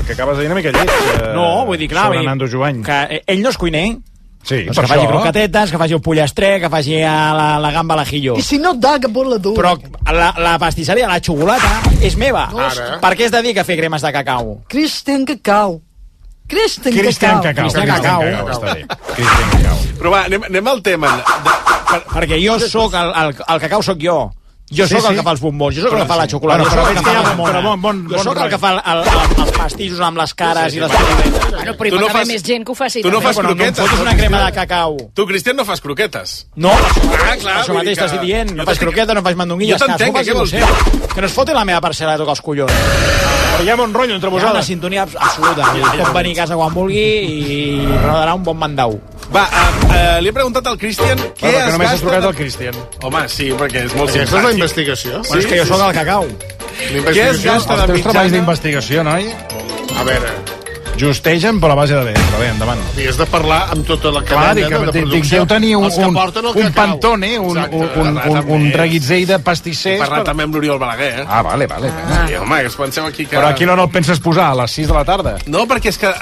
[SPEAKER 18] El que acabes de dir una mica llet. Eh,
[SPEAKER 14] No, vull dir, clar,
[SPEAKER 18] Sobre
[SPEAKER 14] vull dir-
[SPEAKER 18] Nando Jovany.
[SPEAKER 14] Que eh, ell no és cuiner,
[SPEAKER 18] Sí,
[SPEAKER 14] doncs que faci croquetetes, que faci el pollastre, que faci eh, la, la gamba a l'ajillo.
[SPEAKER 23] I si no, daga voladora.
[SPEAKER 14] Però la, la pastisseria, la xocolata, és meva.
[SPEAKER 23] Ara.
[SPEAKER 14] Per què es dedica a fer cremes de cacau?
[SPEAKER 23] Christian Cacau. Christian
[SPEAKER 14] Christian Cacau.
[SPEAKER 23] Cacau.
[SPEAKER 14] Christian Cacau.
[SPEAKER 18] Està bé.
[SPEAKER 20] Però va, anem, anem al tema.
[SPEAKER 14] Per, perquè jo sóc el, el, el cacau sóc jo. Jo
[SPEAKER 18] Sí,
[SPEAKER 14] sóc
[SPEAKER 18] sí.
[SPEAKER 14] el que fa els bombons, jo sóc el
[SPEAKER 18] Però
[SPEAKER 14] que fa la
[SPEAKER 18] sí.
[SPEAKER 14] xocolata,
[SPEAKER 18] Bueno, però
[SPEAKER 14] jo
[SPEAKER 18] veig que hi
[SPEAKER 14] sóc el que fa
[SPEAKER 18] ha-
[SPEAKER 14] la
[SPEAKER 18] però bon-
[SPEAKER 14] bombona,
[SPEAKER 18] bon-
[SPEAKER 14] jo
[SPEAKER 18] bon
[SPEAKER 14] sóc el
[SPEAKER 18] rotllo.
[SPEAKER 14] que fa el, el, el, els pastissos amb les cares i les piruletes.
[SPEAKER 19] Bueno, però hi
[SPEAKER 20] Tu
[SPEAKER 19] pot
[SPEAKER 20] no
[SPEAKER 19] haver
[SPEAKER 20] fas-
[SPEAKER 19] més gent que ho faci.
[SPEAKER 20] Tu no
[SPEAKER 19] també.
[SPEAKER 20] fas
[SPEAKER 19] Bueno,
[SPEAKER 20] croquetes.
[SPEAKER 19] em fotis
[SPEAKER 20] no,
[SPEAKER 19] una
[SPEAKER 14] crema de
[SPEAKER 20] Cristian?
[SPEAKER 14] cacau.
[SPEAKER 20] Tu, Cristian, no fas croquetes.
[SPEAKER 14] No,
[SPEAKER 20] Ah, clar,
[SPEAKER 14] això
[SPEAKER 20] vull dir
[SPEAKER 14] mateix
[SPEAKER 20] que-
[SPEAKER 14] t'estic dient. No
[SPEAKER 20] Jo
[SPEAKER 14] fas
[SPEAKER 20] t'estic-
[SPEAKER 14] croqueta, no fas mandonguilles.
[SPEAKER 20] Jo t'entenc,
[SPEAKER 14] cadascú
[SPEAKER 20] eh, què
[SPEAKER 14] faci el
[SPEAKER 20] vols
[SPEAKER 14] seu. Que no es foti la meva parcel·la de tocar els collons.
[SPEAKER 18] Però hi ha bon rotllo entre
[SPEAKER 14] Hi ha una
[SPEAKER 18] vosaltres.
[SPEAKER 14] sintonia abs- absoluta. Pot venir a casa quan vulgui i regalarà un bon mandau.
[SPEAKER 20] Va, uh, uh, li he preguntat al Christian què
[SPEAKER 18] que
[SPEAKER 20] es
[SPEAKER 18] només
[SPEAKER 20] gasta...
[SPEAKER 18] has trucat al
[SPEAKER 20] Christian. Home, sí, perquè és molt
[SPEAKER 21] Aquesta és la
[SPEAKER 20] simpàtic.
[SPEAKER 21] investigació.
[SPEAKER 14] Bueno, és que jo sóc el cacau.
[SPEAKER 20] Què es gasta de
[SPEAKER 18] Els teus treballs
[SPEAKER 20] mitjana?
[SPEAKER 18] d'investigació, noi?
[SPEAKER 21] A veure,
[SPEAKER 18] Justegen, però a base de bé. Però bé, endavant.
[SPEAKER 21] Havies de parlar amb tota la
[SPEAKER 18] Clar,
[SPEAKER 21] cadena
[SPEAKER 18] dic,
[SPEAKER 21] de
[SPEAKER 18] dic, dic,
[SPEAKER 21] producció.
[SPEAKER 18] deu tenir un,
[SPEAKER 21] els que
[SPEAKER 18] un,
[SPEAKER 21] porten el
[SPEAKER 18] un
[SPEAKER 21] cacau.
[SPEAKER 18] pantone, un,
[SPEAKER 21] Exacte,
[SPEAKER 18] un, un,
[SPEAKER 21] parlar
[SPEAKER 18] un,
[SPEAKER 21] també.
[SPEAKER 18] un reguitzell de pastissers.
[SPEAKER 20] Parlar
[SPEAKER 18] però-
[SPEAKER 20] també amb l'Oriol Balaguer, eh?
[SPEAKER 18] Ah, vale, vale.
[SPEAKER 20] Ah. Sí, home, que us penseu aquí que...
[SPEAKER 18] Però a quina hora el penses posar? A les 6 de la tarda?
[SPEAKER 20] No, perquè és que eh,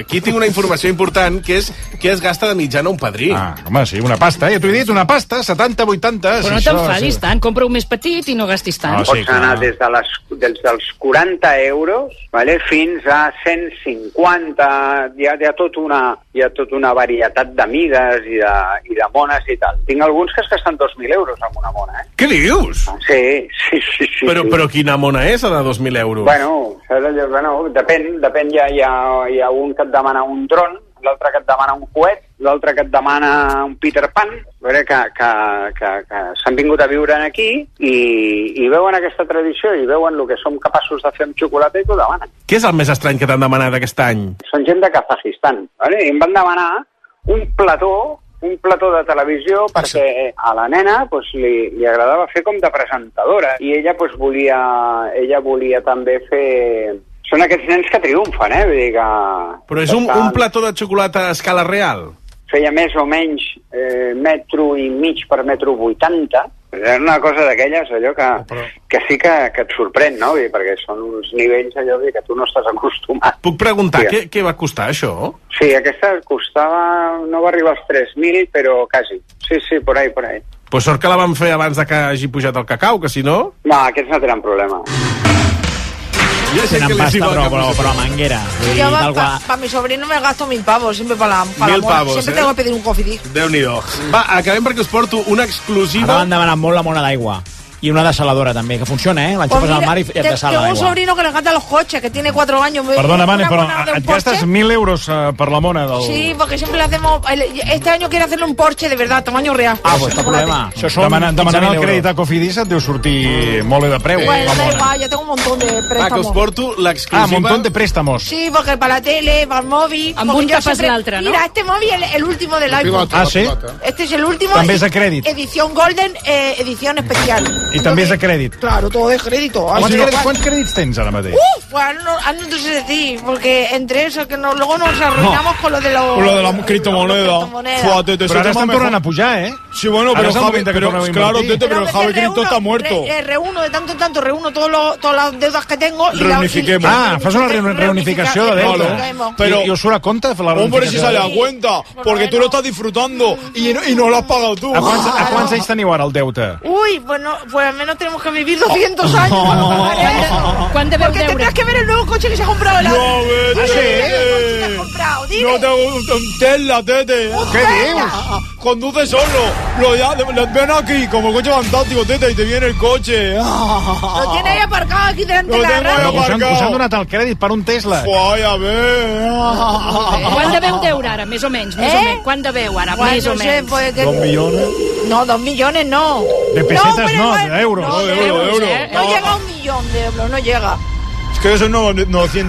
[SPEAKER 20] aquí tinc una informació important, que és que es gasta de mitjana un padrí. Ah,
[SPEAKER 18] home, sí, una pasta, eh? T'ho he dit, una pasta, 70, 80...
[SPEAKER 19] Però no t'enfadis tant, compra un més petit i no gastis
[SPEAKER 20] Ah,
[SPEAKER 19] tant.
[SPEAKER 29] Pots anar des, de les, des dels 40 euros vale, fins a 150. Hi ha, hi ha, tot una, hi ha tota una varietat de mides i de, i de mones i tal. Tinc alguns que es gasten 2.000 euros amb una mona. Eh?
[SPEAKER 20] Què dius?
[SPEAKER 29] Sí, sí, sí. sí
[SPEAKER 20] Però,
[SPEAKER 29] sí.
[SPEAKER 20] però quina mona és, la de 2.000 euros?
[SPEAKER 29] Bueno, saps allò? bueno, depèn, depèn ja, hi ha, hi ha un que et demana un dron, l'altre que et demana un coet, l'altre que et demana un Peter Pan, A veure que, que, que, que s'han vingut a viure aquí i, i veuen aquesta tradició i veuen el que som capaços de fer amb xocolata i t'ho demanen.
[SPEAKER 20] Què és el més estrany que t'han demanat aquest any?
[SPEAKER 29] Són gent de Kazajistan. Vale? I em van demanar un plató un plató de televisió perquè a la nena pues, li, li agradava fer com de presentadora i ella pues, volia, ella volia també fer... Són aquests nens que triomfen, eh? Vull dir que...
[SPEAKER 20] Però és un,
[SPEAKER 29] que
[SPEAKER 20] un plató de xocolata a escala real?
[SPEAKER 29] Feia més o menys eh, metro i mig per metro 80. Era una cosa d'aquelles, allò que, que sí que, que et sorprèn, no? Vull dir, perquè són uns nivells allò vull dir, que tu no estàs acostumat.
[SPEAKER 20] Puc preguntar
[SPEAKER 29] Sí.
[SPEAKER 20] què, què va costar, això?
[SPEAKER 29] Sí, aquesta costava... no va arribar als 3.000, però quasi. Sí, sí, por ahí, por ahí.
[SPEAKER 20] Pues sort que la van fer abans de que hagi pujat el cacau, que si no...
[SPEAKER 29] No, aquests no tenen problema.
[SPEAKER 20] Jo sé
[SPEAKER 14] Tenen
[SPEAKER 20] que
[SPEAKER 14] pasta,
[SPEAKER 20] les hi va
[SPEAKER 14] però,
[SPEAKER 20] cap-
[SPEAKER 14] però, però a manguera. Vull dir,
[SPEAKER 24] Yo
[SPEAKER 14] tal
[SPEAKER 24] para
[SPEAKER 14] qual.
[SPEAKER 24] mi sobrino me gasto mil pavos, siempre para la, pa la
[SPEAKER 20] Mil
[SPEAKER 24] mona.
[SPEAKER 20] pavos,
[SPEAKER 24] siempre
[SPEAKER 20] eh.
[SPEAKER 24] tengo que pedir un coffee
[SPEAKER 20] Déu-n'hi-do. Va, acabem perquè us porto una exclusiva...
[SPEAKER 14] Ara van demanar molt la mona d'aigua. I una dessaladora, també, que funciona, eh? L'enxufes al mar i et
[SPEAKER 24] Pues tengo
[SPEAKER 14] dessala
[SPEAKER 24] un
[SPEAKER 14] l'aigua.
[SPEAKER 24] sobrino que le encanta los coches, que tiene cuatro años. Me-
[SPEAKER 18] Perdona,
[SPEAKER 24] una
[SPEAKER 18] Mane, però
[SPEAKER 24] mona de un
[SPEAKER 18] et gastes
[SPEAKER 24] Porsche.
[SPEAKER 18] 1.000 euros eh, per la mona del...
[SPEAKER 24] Sí, porque siempre le hacemos. Este año quiere hacerle un Porsche de verdad, tamaño real.
[SPEAKER 18] Ah, pues, no problema. Això són demanant, demanant el crèdit a Cofidis et deu sortir molt bé de preu.
[SPEAKER 24] Bueno,
[SPEAKER 18] la
[SPEAKER 24] da
[SPEAKER 18] mona.
[SPEAKER 24] igual, yo tengo un montón de
[SPEAKER 20] Va, Ah, que us
[SPEAKER 24] préstamos.
[SPEAKER 20] porto l'exclusiva...
[SPEAKER 18] Ah, montón de préstamos.
[SPEAKER 24] Sí, porque para la tele, para el móvil.
[SPEAKER 19] Amb
[SPEAKER 24] porque
[SPEAKER 19] un
[SPEAKER 24] yo
[SPEAKER 19] tapas
[SPEAKER 24] siempre-
[SPEAKER 19] la otra, ¿no?
[SPEAKER 24] Mira, este móvil es el último del
[SPEAKER 18] El
[SPEAKER 24] iPhone.
[SPEAKER 18] pilota, Ah, la ¿sí? pilota.
[SPEAKER 24] Este es el último.
[SPEAKER 18] También es
[SPEAKER 24] y-
[SPEAKER 18] a crédito.
[SPEAKER 24] Edición Golden, eh, edición especial.
[SPEAKER 18] I també és a crèdit.
[SPEAKER 24] Claro, todo es crédito.
[SPEAKER 18] Quants,
[SPEAKER 24] Así
[SPEAKER 18] crèdits,
[SPEAKER 24] que-
[SPEAKER 18] quants crèdits tens ara mateix?
[SPEAKER 24] Uf, pues ahora no, ahora no te sé decir, porque entre eso, que no- luego nos arruinamos con lo de los...
[SPEAKER 30] Con lo de la criptomoneda.
[SPEAKER 24] criptomoneda.
[SPEAKER 30] Fua, tete,
[SPEAKER 18] Però
[SPEAKER 30] ese
[SPEAKER 18] ara
[SPEAKER 30] tema
[SPEAKER 18] estan
[SPEAKER 30] mejor.
[SPEAKER 18] tornant a pujar, eh?
[SPEAKER 30] Sí, bueno,
[SPEAKER 18] Ahora
[SPEAKER 30] pero
[SPEAKER 18] se han dado
[SPEAKER 30] Javi,
[SPEAKER 18] cuenta que
[SPEAKER 30] pero,
[SPEAKER 18] tornaba a
[SPEAKER 30] claro,
[SPEAKER 18] invertir.
[SPEAKER 30] tete, pero el
[SPEAKER 24] Pero
[SPEAKER 30] Javi
[SPEAKER 24] me
[SPEAKER 30] Cristo
[SPEAKER 24] reúno,
[SPEAKER 30] está muerto.
[SPEAKER 24] re- eh, reúno de tanto en tanto, reúno todos los- todas las deudas que tengo. y la- y-
[SPEAKER 30] Reunifiquemos.
[SPEAKER 18] Ah, fas una reuni- reunificació de deute.
[SPEAKER 24] Reunifiquemos.
[SPEAKER 30] Però-
[SPEAKER 18] I, I us surt a compte fer la
[SPEAKER 30] Hombre, si
[SPEAKER 18] reunificació?
[SPEAKER 30] se da cuenta, porque tú lo estás disfrutando y no, y no lo has pagado tú.
[SPEAKER 18] A quants, a quants anys teniu ara el deute?
[SPEAKER 24] Uy, bueno, pues al menos tenemos que vivir 200
[SPEAKER 30] Oh.
[SPEAKER 24] años.
[SPEAKER 19] Quan deveu
[SPEAKER 24] Porque
[SPEAKER 19] deure?
[SPEAKER 24] tendrás que ver el nuevo coche que se ha comprado. la-
[SPEAKER 30] No, vete.
[SPEAKER 24] Ay, el coche que has comprado, dime.
[SPEAKER 30] No te gusta un Tesla, tete.
[SPEAKER 24] ¿Qué Tesla?
[SPEAKER 30] Conduce solo. Lo ya, lo- ven aquí, como coche fantástico, tete, y te viene el coche.
[SPEAKER 24] Lo tiene ahí aparcado aquí delante
[SPEAKER 30] Lo
[SPEAKER 24] de la
[SPEAKER 30] tengo ahí
[SPEAKER 24] radio.
[SPEAKER 18] Us han, us han
[SPEAKER 30] aparcado.
[SPEAKER 18] donat el crèdit per un Tesla.
[SPEAKER 30] Guai, a ver.
[SPEAKER 19] Quan deveu deure ara, més o menys? Més
[SPEAKER 24] Eh?
[SPEAKER 19] o menys. Quan deveu ara,
[SPEAKER 24] Bueno,
[SPEAKER 19] més o
[SPEAKER 24] no sé,
[SPEAKER 19] menys?
[SPEAKER 24] pues, que-
[SPEAKER 30] millones.
[SPEAKER 24] No, dos millones no.
[SPEAKER 30] De
[SPEAKER 24] pesetas
[SPEAKER 30] no, de euros.
[SPEAKER 24] No,
[SPEAKER 30] No, de
[SPEAKER 24] de
[SPEAKER 30] euro, de
[SPEAKER 24] euros,
[SPEAKER 30] euro.
[SPEAKER 24] ¿eh? No llega a un millón de euros, no llega.
[SPEAKER 30] Es que son no-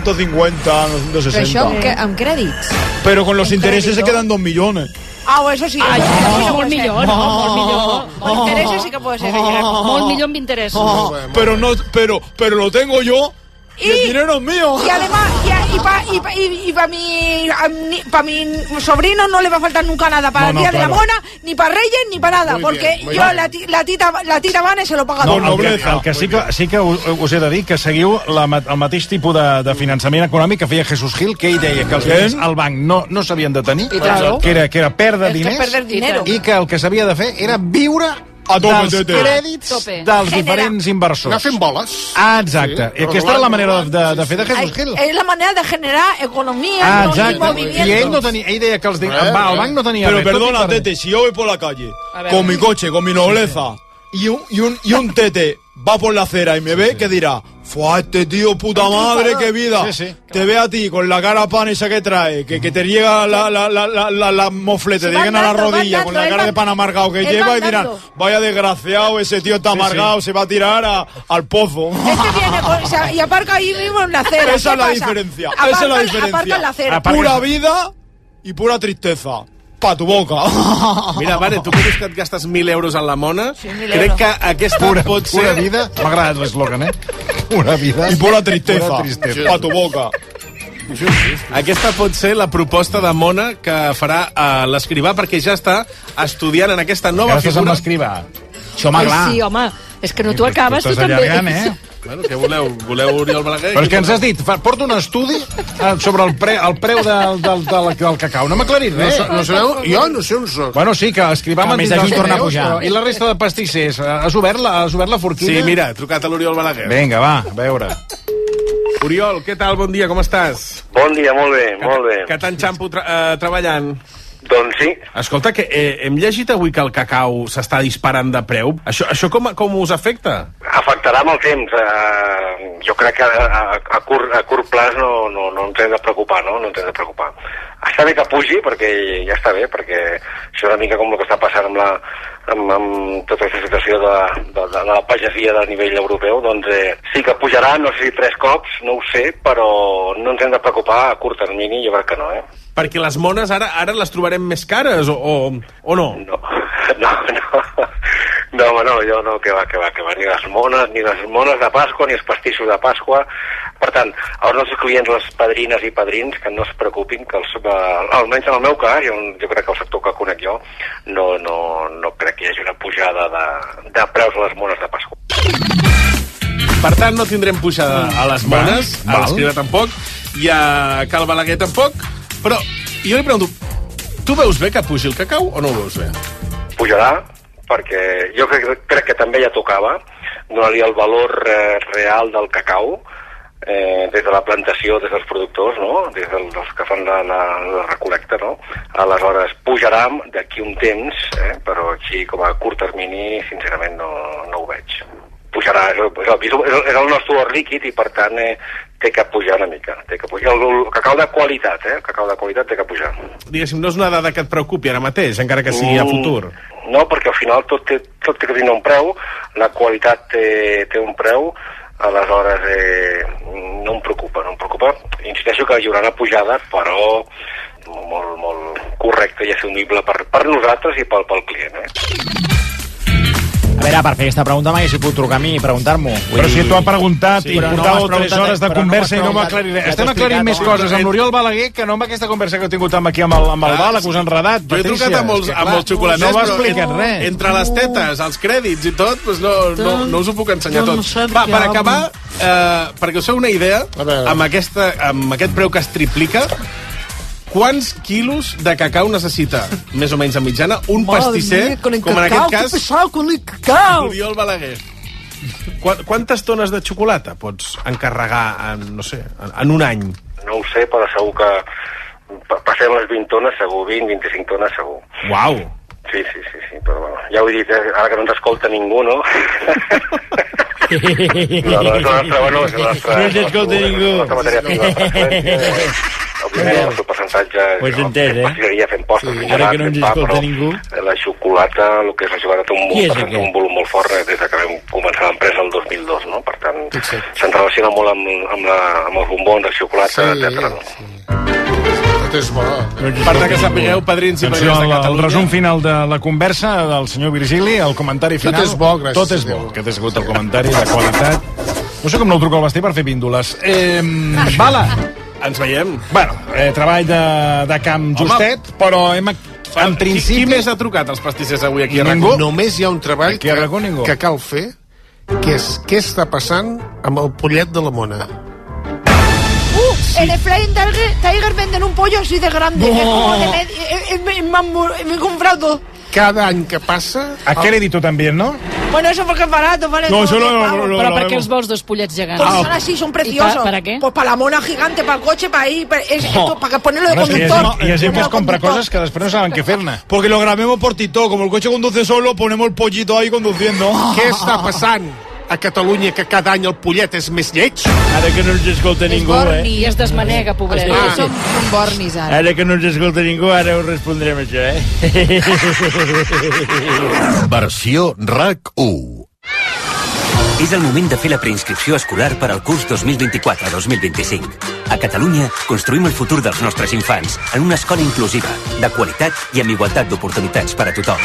[SPEAKER 30] 950, 960.
[SPEAKER 24] amb crèdits.
[SPEAKER 30] Pero con los intereses se quedan 2 millones.
[SPEAKER 24] Ah, bueno, eso sí.
[SPEAKER 19] Ai,
[SPEAKER 24] eso sí que
[SPEAKER 19] molt
[SPEAKER 24] puede ser.
[SPEAKER 19] millor, no, molt millor.
[SPEAKER 24] Con intereses sí que puede ser. que llegue.
[SPEAKER 19] Molt millor amb interessos.
[SPEAKER 30] Ah, pero no, pero, pero lo tengo yo. Y, el dinero es mío.
[SPEAKER 24] Y además, y, a- y para y pa, y, y pa mi, a mi- pa mi sobrino no le va a faltar nunca nada para
[SPEAKER 30] No,
[SPEAKER 24] el
[SPEAKER 30] no,
[SPEAKER 24] Día de la
[SPEAKER 30] claro.
[SPEAKER 24] Mona, ni para Reyes, ni para nada,
[SPEAKER 20] Muy
[SPEAKER 24] porque
[SPEAKER 20] bien, muy
[SPEAKER 24] yo
[SPEAKER 20] bien.
[SPEAKER 24] la, ti- la tita la tita Vane se lo paga
[SPEAKER 18] No,
[SPEAKER 24] todo.
[SPEAKER 18] el que, el que sí que, sí que us, us he de dir que seguiu la, ma- el mateix tipus de, de finançament econòmic que feia Jesús Gil, que ell deia que els diners al banc no, no s'havien de tenir,
[SPEAKER 24] I tant.
[SPEAKER 18] que era, que era perdre
[SPEAKER 24] És que
[SPEAKER 18] diners,
[SPEAKER 24] perder dinero.
[SPEAKER 18] i que el que s'havia de fer era viure
[SPEAKER 30] A tope,
[SPEAKER 18] dels
[SPEAKER 30] tete.
[SPEAKER 18] crèdits
[SPEAKER 24] Tope.
[SPEAKER 18] dels
[SPEAKER 24] Generar.
[SPEAKER 18] diferents
[SPEAKER 21] Anar
[SPEAKER 18] inversors.
[SPEAKER 21] fent boles.
[SPEAKER 18] Ah, exacte.
[SPEAKER 21] Sí,
[SPEAKER 18] I aquesta era la manera de, de fer de
[SPEAKER 24] Ay,
[SPEAKER 18] Jesús Gil.
[SPEAKER 24] es la manera de generar economía,
[SPEAKER 18] Ah,
[SPEAKER 24] no ni
[SPEAKER 18] exacte. I ell,
[SPEAKER 24] movimiento.
[SPEAKER 18] no tenia, ell deia que els diners,
[SPEAKER 30] Eh,
[SPEAKER 18] va, el
[SPEAKER 30] eh.
[SPEAKER 18] banc no tenia
[SPEAKER 30] Pero
[SPEAKER 18] res. tot
[SPEAKER 30] perdona,
[SPEAKER 18] diferent.
[SPEAKER 30] Tete, si yo voy por la calle
[SPEAKER 18] ver.
[SPEAKER 30] con mi coche, con mi nobleza, y un, y un, y un Tete va por la acera y me ve, que dirá? Fua, este tío, puta madre, qué vida.
[SPEAKER 18] Sí, sí.
[SPEAKER 30] Te ve a ti con la cara pan esa que trae, que, que te llega la, la, la, la, la, la moflete,
[SPEAKER 18] Se
[SPEAKER 30] te
[SPEAKER 18] va
[SPEAKER 30] llegan a la
[SPEAKER 18] andando, va
[SPEAKER 30] rodilla con la
[SPEAKER 18] andando,
[SPEAKER 30] cara de
[SPEAKER 18] él va-
[SPEAKER 30] pan amargado que
[SPEAKER 18] él va
[SPEAKER 30] lleva y dirán,
[SPEAKER 18] andando.
[SPEAKER 30] vaya desgraciado, ese tío está
[SPEAKER 18] Sí, sí.
[SPEAKER 30] amargado, se va a tirar a- al pozo.
[SPEAKER 24] Este viene con- o sea, y aparca ahí mismo en la
[SPEAKER 30] Esa
[SPEAKER 24] acera.
[SPEAKER 30] es
[SPEAKER 24] ¿Qué
[SPEAKER 30] la
[SPEAKER 24] pasa?
[SPEAKER 30] diferencia.
[SPEAKER 24] Aparca,
[SPEAKER 30] esa es la
[SPEAKER 24] Aparca en la
[SPEAKER 30] diferencia.
[SPEAKER 24] acera.
[SPEAKER 30] Pura vida y pura tristeza. Pa tu boca.
[SPEAKER 20] Mira, Vane, tu que dius que et gastes 1.000 euros en la mona, sí,
[SPEAKER 24] mil
[SPEAKER 20] crec
[SPEAKER 24] euros.
[SPEAKER 20] que aquesta
[SPEAKER 18] Pura-
[SPEAKER 20] pot ser...
[SPEAKER 18] pura vida. M'ha agradat l'eslògan, eh? Pura vida.
[SPEAKER 30] Y pura tristeza.
[SPEAKER 18] Pura tristeza.
[SPEAKER 30] Pa tu boca.
[SPEAKER 20] Aquesta pot ser la proposta de Mona que farà a l'escrivà perquè ja està estudiant en aquesta nova
[SPEAKER 18] Ara estàs amb
[SPEAKER 20] figura.
[SPEAKER 18] l'escrivà.
[SPEAKER 14] Sí,
[SPEAKER 20] home,
[SPEAKER 19] Ai,
[SPEAKER 20] clar.
[SPEAKER 19] Sí, home, és que no t'ho acabes, tu
[SPEAKER 18] t'estàs
[SPEAKER 19] també.
[SPEAKER 18] allargant, eh?
[SPEAKER 20] Bueno, què voleu? Voleu Oriol Balaguer?
[SPEAKER 18] Però és que ens has dit, fa, porta un estudi eh, sobre el, pre, el preu del, del, del, del cacau. No m'ha aclarit
[SPEAKER 20] No,
[SPEAKER 18] res.
[SPEAKER 20] so- no sabeu? Jo no sé on soc.
[SPEAKER 18] Bueno, sí, que escrivam...
[SPEAKER 20] Que a més d'aquí torna a pujar.
[SPEAKER 18] I la resta de pastissers, eh, has obert la, has obert la forquilla?
[SPEAKER 20] Sí, mira, he trucat a l'Oriol Balaguer.
[SPEAKER 18] Vinga, va, a veure.
[SPEAKER 20] Oriol, què tal? Bon dia, com estàs?
[SPEAKER 32] Bon dia, molt bé, molt bé.
[SPEAKER 20] Que tant xampo tra eh, treballant.
[SPEAKER 32] Doncs sí.
[SPEAKER 20] Escolta, que eh, hem llegit avui que el cacau s'està disparant de preu. Això, això com, com us afecta?
[SPEAKER 32] Afectarà amb el temps. Eh, jo crec que a, a, a, curt, a curt plaç no, no, no ens hem de preocupar, no? No ens hem de preocupar. Està bé que pugi, perquè ja està bé, perquè això és una mica com el que està passant amb, la, amb, amb tota aquesta situació de, de, de, de la pagesia del nivell europeu, doncs eh, sí que pujarà, no sé si tres cops, no ho sé, però no ens hem de preocupar a curt termini, jo crec que no, eh?
[SPEAKER 20] Perquè les mones ara ara les trobarem més cares, o, o, o no?
[SPEAKER 32] No. No, no. No, home, no, jo no, que va, que va, que va. Ni les mones, ni les mones de Pasqua, ni els pastissos de Pasqua. Per tant, als nostres clients, les padrines i padrins, que no es preocupin, que els, eh, almenys en el meu cas, jo, jo crec que el sector que conec jo, no, no, no crec que hi hagi una pujada de, de preus a les mones de Pasqua.
[SPEAKER 20] Per tant, no tindrem pujada a les
[SPEAKER 32] Val,
[SPEAKER 20] mones, a
[SPEAKER 32] val.
[SPEAKER 20] l'escriba tampoc, i a Cal Balaguer tampoc, però jo li pregunto, tu veus bé que pugi el cacau o no ho veus bé?
[SPEAKER 32] pujarà perquè jo crec, crec que també ja tocava donar-li el valor eh, real del cacau eh, des de la plantació, des dels productors, no? des del, dels que fan la, la, la recol·lecta. No? Aleshores, pujarà d'aquí un temps, eh? però així com a curt termini, sincerament, no, no ho veig. Pujarà, és, el- és, obvi, és, el- és el nostre or líquid i, per tant, eh, té que pujar una mica. Té que pujar el, el cacau de qualitat, eh? el cacau de qualitat té que pujar.
[SPEAKER 20] Diguéssim, no és una dada que et preocupi ara mateix, encara que sigui a
[SPEAKER 32] Mm.
[SPEAKER 20] futur.
[SPEAKER 32] No, perquè al final tot té, tot té que tenir un preu, la qualitat té, té un preu, aleshores eh, no em preocupa, no em preocupa. Insisteixo que hi haurà una pujada, però molt, molt correcta i assumible per, per nosaltres i pel, pel client. Eh?
[SPEAKER 14] A veure, per fer aquesta pregunta m'hagués pogut trucar a mi i preguntar-m'ho. Vull
[SPEAKER 18] Però
[SPEAKER 14] dir-
[SPEAKER 18] si tu ha preguntat
[SPEAKER 14] Sí,
[SPEAKER 18] i
[SPEAKER 14] però no
[SPEAKER 18] portàveu
[SPEAKER 14] m'has
[SPEAKER 18] tres
[SPEAKER 14] preguntat,
[SPEAKER 18] hores de
[SPEAKER 14] però no
[SPEAKER 18] conversa i
[SPEAKER 14] m'has
[SPEAKER 18] no m'ho
[SPEAKER 14] preguntat.
[SPEAKER 18] aclaré.
[SPEAKER 7] Este-
[SPEAKER 14] Ja
[SPEAKER 18] Estem
[SPEAKER 14] t'ho he
[SPEAKER 18] aclarint més
[SPEAKER 14] explicat,
[SPEAKER 18] coses amb l'Oriol Balaguer que no amb aquesta conversa que heu tingut amb aquí amb el, amb el
[SPEAKER 20] Clar,
[SPEAKER 18] Bala, que us ha enredat,
[SPEAKER 20] Ah, Jo he
[SPEAKER 18] Patrícia.
[SPEAKER 20] trucat amb els,
[SPEAKER 18] És que,
[SPEAKER 20] amb
[SPEAKER 18] clar,
[SPEAKER 20] els xocolaters,
[SPEAKER 18] No m'ha
[SPEAKER 20] però
[SPEAKER 18] explicat
[SPEAKER 20] en-
[SPEAKER 18] res.
[SPEAKER 20] entre les tetes, els crèdits i tot, doncs no, no, no us ho puc ensenyar
[SPEAKER 18] Jo no
[SPEAKER 20] tot.
[SPEAKER 18] sé
[SPEAKER 20] Va,
[SPEAKER 18] què
[SPEAKER 20] per
[SPEAKER 18] hablo.
[SPEAKER 20] acabar, eh, perquè us feu una idea, amb, aquesta, amb aquest preu que es triplica, quants quilos de cacau necessita, més o menys a mitjana, un
[SPEAKER 23] Madre
[SPEAKER 20] pastisser,
[SPEAKER 23] mía, con
[SPEAKER 20] com
[SPEAKER 23] el
[SPEAKER 20] en aquest
[SPEAKER 23] cacao, ¿qué
[SPEAKER 20] cas,
[SPEAKER 23] pesado con el cacao?
[SPEAKER 20] Oriol Balaguer. Qua- Quantes tones de xocolata pots encarregar en, no sé, en, en un any?
[SPEAKER 32] No ho sé, però segur que pa- passem les 20 tones, segur, 20, 25 tones, segur.
[SPEAKER 20] Uau!
[SPEAKER 32] Sí, sí, sí, sí, però bueno, ja ho he dit, eh, ara que no ens escolta ningú, no? No, no, és la nostra, bueno, és la nostra...
[SPEAKER 3] No ens escolta ningú.
[SPEAKER 32] La nostra matèria prima, la preferència, eh, òbviament, el seu percentatge...
[SPEAKER 3] Ho has
[SPEAKER 32] no,
[SPEAKER 3] entès, eh?
[SPEAKER 32] Pastisseria fent postres, sí,
[SPEAKER 3] ara que no ens escolta
[SPEAKER 32] ningú... La xocolata, el que és la xocolata, té un,
[SPEAKER 3] Qui és
[SPEAKER 32] volum, té un volum molt fort eh, des de que vam començar l'empresa el 2002, no? Per tant, se'n relaciona molt amb, amb, la, amb els bombons, la xocolata, sí, etcètera, no?
[SPEAKER 21] Tot és bo.
[SPEAKER 20] Per tant, que sapigueu, padrins i
[SPEAKER 18] Atenció,
[SPEAKER 20] padrines de
[SPEAKER 18] el, el
[SPEAKER 20] Catalunya.
[SPEAKER 18] resum final de la conversa del senyor Virgili, el comentari final...
[SPEAKER 20] és bo, gràcies
[SPEAKER 18] Tot és bo. Aquest ha sigut el comentari de qualitat. No sé com no ho truco al Bastí per fer píndoles. Eh, bala!
[SPEAKER 20] Ens veiem.
[SPEAKER 18] Bueno, eh, treball de, de camp justet, Home, però hem... En principi...
[SPEAKER 20] Qui més ha trucat els pastissers avui aquí a
[SPEAKER 18] Ningú.
[SPEAKER 20] RAC1?
[SPEAKER 21] Només hi ha un treball
[SPEAKER 20] Aquí a RAC1 ningú.
[SPEAKER 21] que cal fer, que és què està passant amb el pollet de la mona.
[SPEAKER 24] Uh, En el Flying Tiger, Tiger venden un pollo así de grande.
[SPEAKER 21] No.
[SPEAKER 24] que es como de med- eh, eh, me- me han bur- me he comprado dos.
[SPEAKER 21] Cada any que passa...
[SPEAKER 18] Aquel edito también, ¿no?
[SPEAKER 24] Bueno, eso porque es barato, ¿vale?
[SPEAKER 18] No, eso
[SPEAKER 24] diez
[SPEAKER 18] no, no,
[SPEAKER 24] pavos.
[SPEAKER 18] no,
[SPEAKER 19] Però
[SPEAKER 18] lo
[SPEAKER 19] per què
[SPEAKER 18] vemos.
[SPEAKER 19] els vols dos pollets gegants?
[SPEAKER 24] Pues son así, son preciosos.
[SPEAKER 19] ¿Y pa- para qué?
[SPEAKER 24] Pues para la mona gigante, para el coche, para ahí, para, es-
[SPEAKER 18] Oh.
[SPEAKER 24] esto, para ponerlo de
[SPEAKER 18] Bueno, és que hi ha
[SPEAKER 24] conductor.
[SPEAKER 18] gent- hi ha gent que es compra coses que després no saben què fer-ne.
[SPEAKER 30] Porque lo grabemos por TikTok. Como el coche conduce solo, ponemos el pollito ahí conduciendo.
[SPEAKER 21] Què està passant a Catalunya que cada any el pollet és més lleig?
[SPEAKER 7] Ara que no ens escolta ningú, eh?
[SPEAKER 19] I es desmanega, pobret.
[SPEAKER 7] Ah.
[SPEAKER 22] Som, som bornis,
[SPEAKER 14] Eh,
[SPEAKER 22] ara.
[SPEAKER 7] Ara que no ens escolta ningú, ara ho respondrem, això, eh?
[SPEAKER 1] Versió RAC1.
[SPEAKER 8] És el moment de fer la preinscripció escolar per al curs 2024-2025. A Catalunya construïm el futur dels nostres infants en una escola inclusiva, de qualitat i amb igualtat d'oportunitats per a tothom.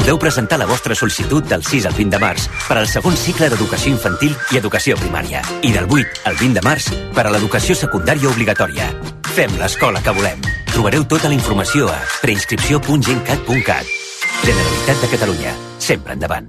[SPEAKER 8] Podeu presentar la vostra sol·licitud del 6 al 20 de març per al segon cicle d'educació infantil i educació primària i del 8 al 20 de març per a l'educació secundària obligatòria. Fem l'escola que volem. Trobareu tota la informació a preinscripció.gencat.cat. Generalitat de Catalunya. Sempre endavant.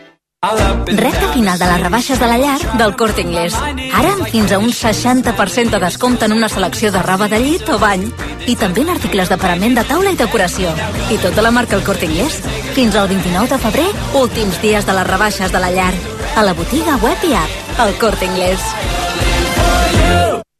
[SPEAKER 5] Recte final de les rebaixes de la llar del Corte Inglés. Ara, fins a un 60% de descompte en una selecció de roba de llit o bany. I també en articles de parament de taula i decoració. I tota la marca El Corte Inglés. Fins al 29 de febrer, últims dies de les rebaixes de la llar. A la botiga web i app. El Corte Inglés.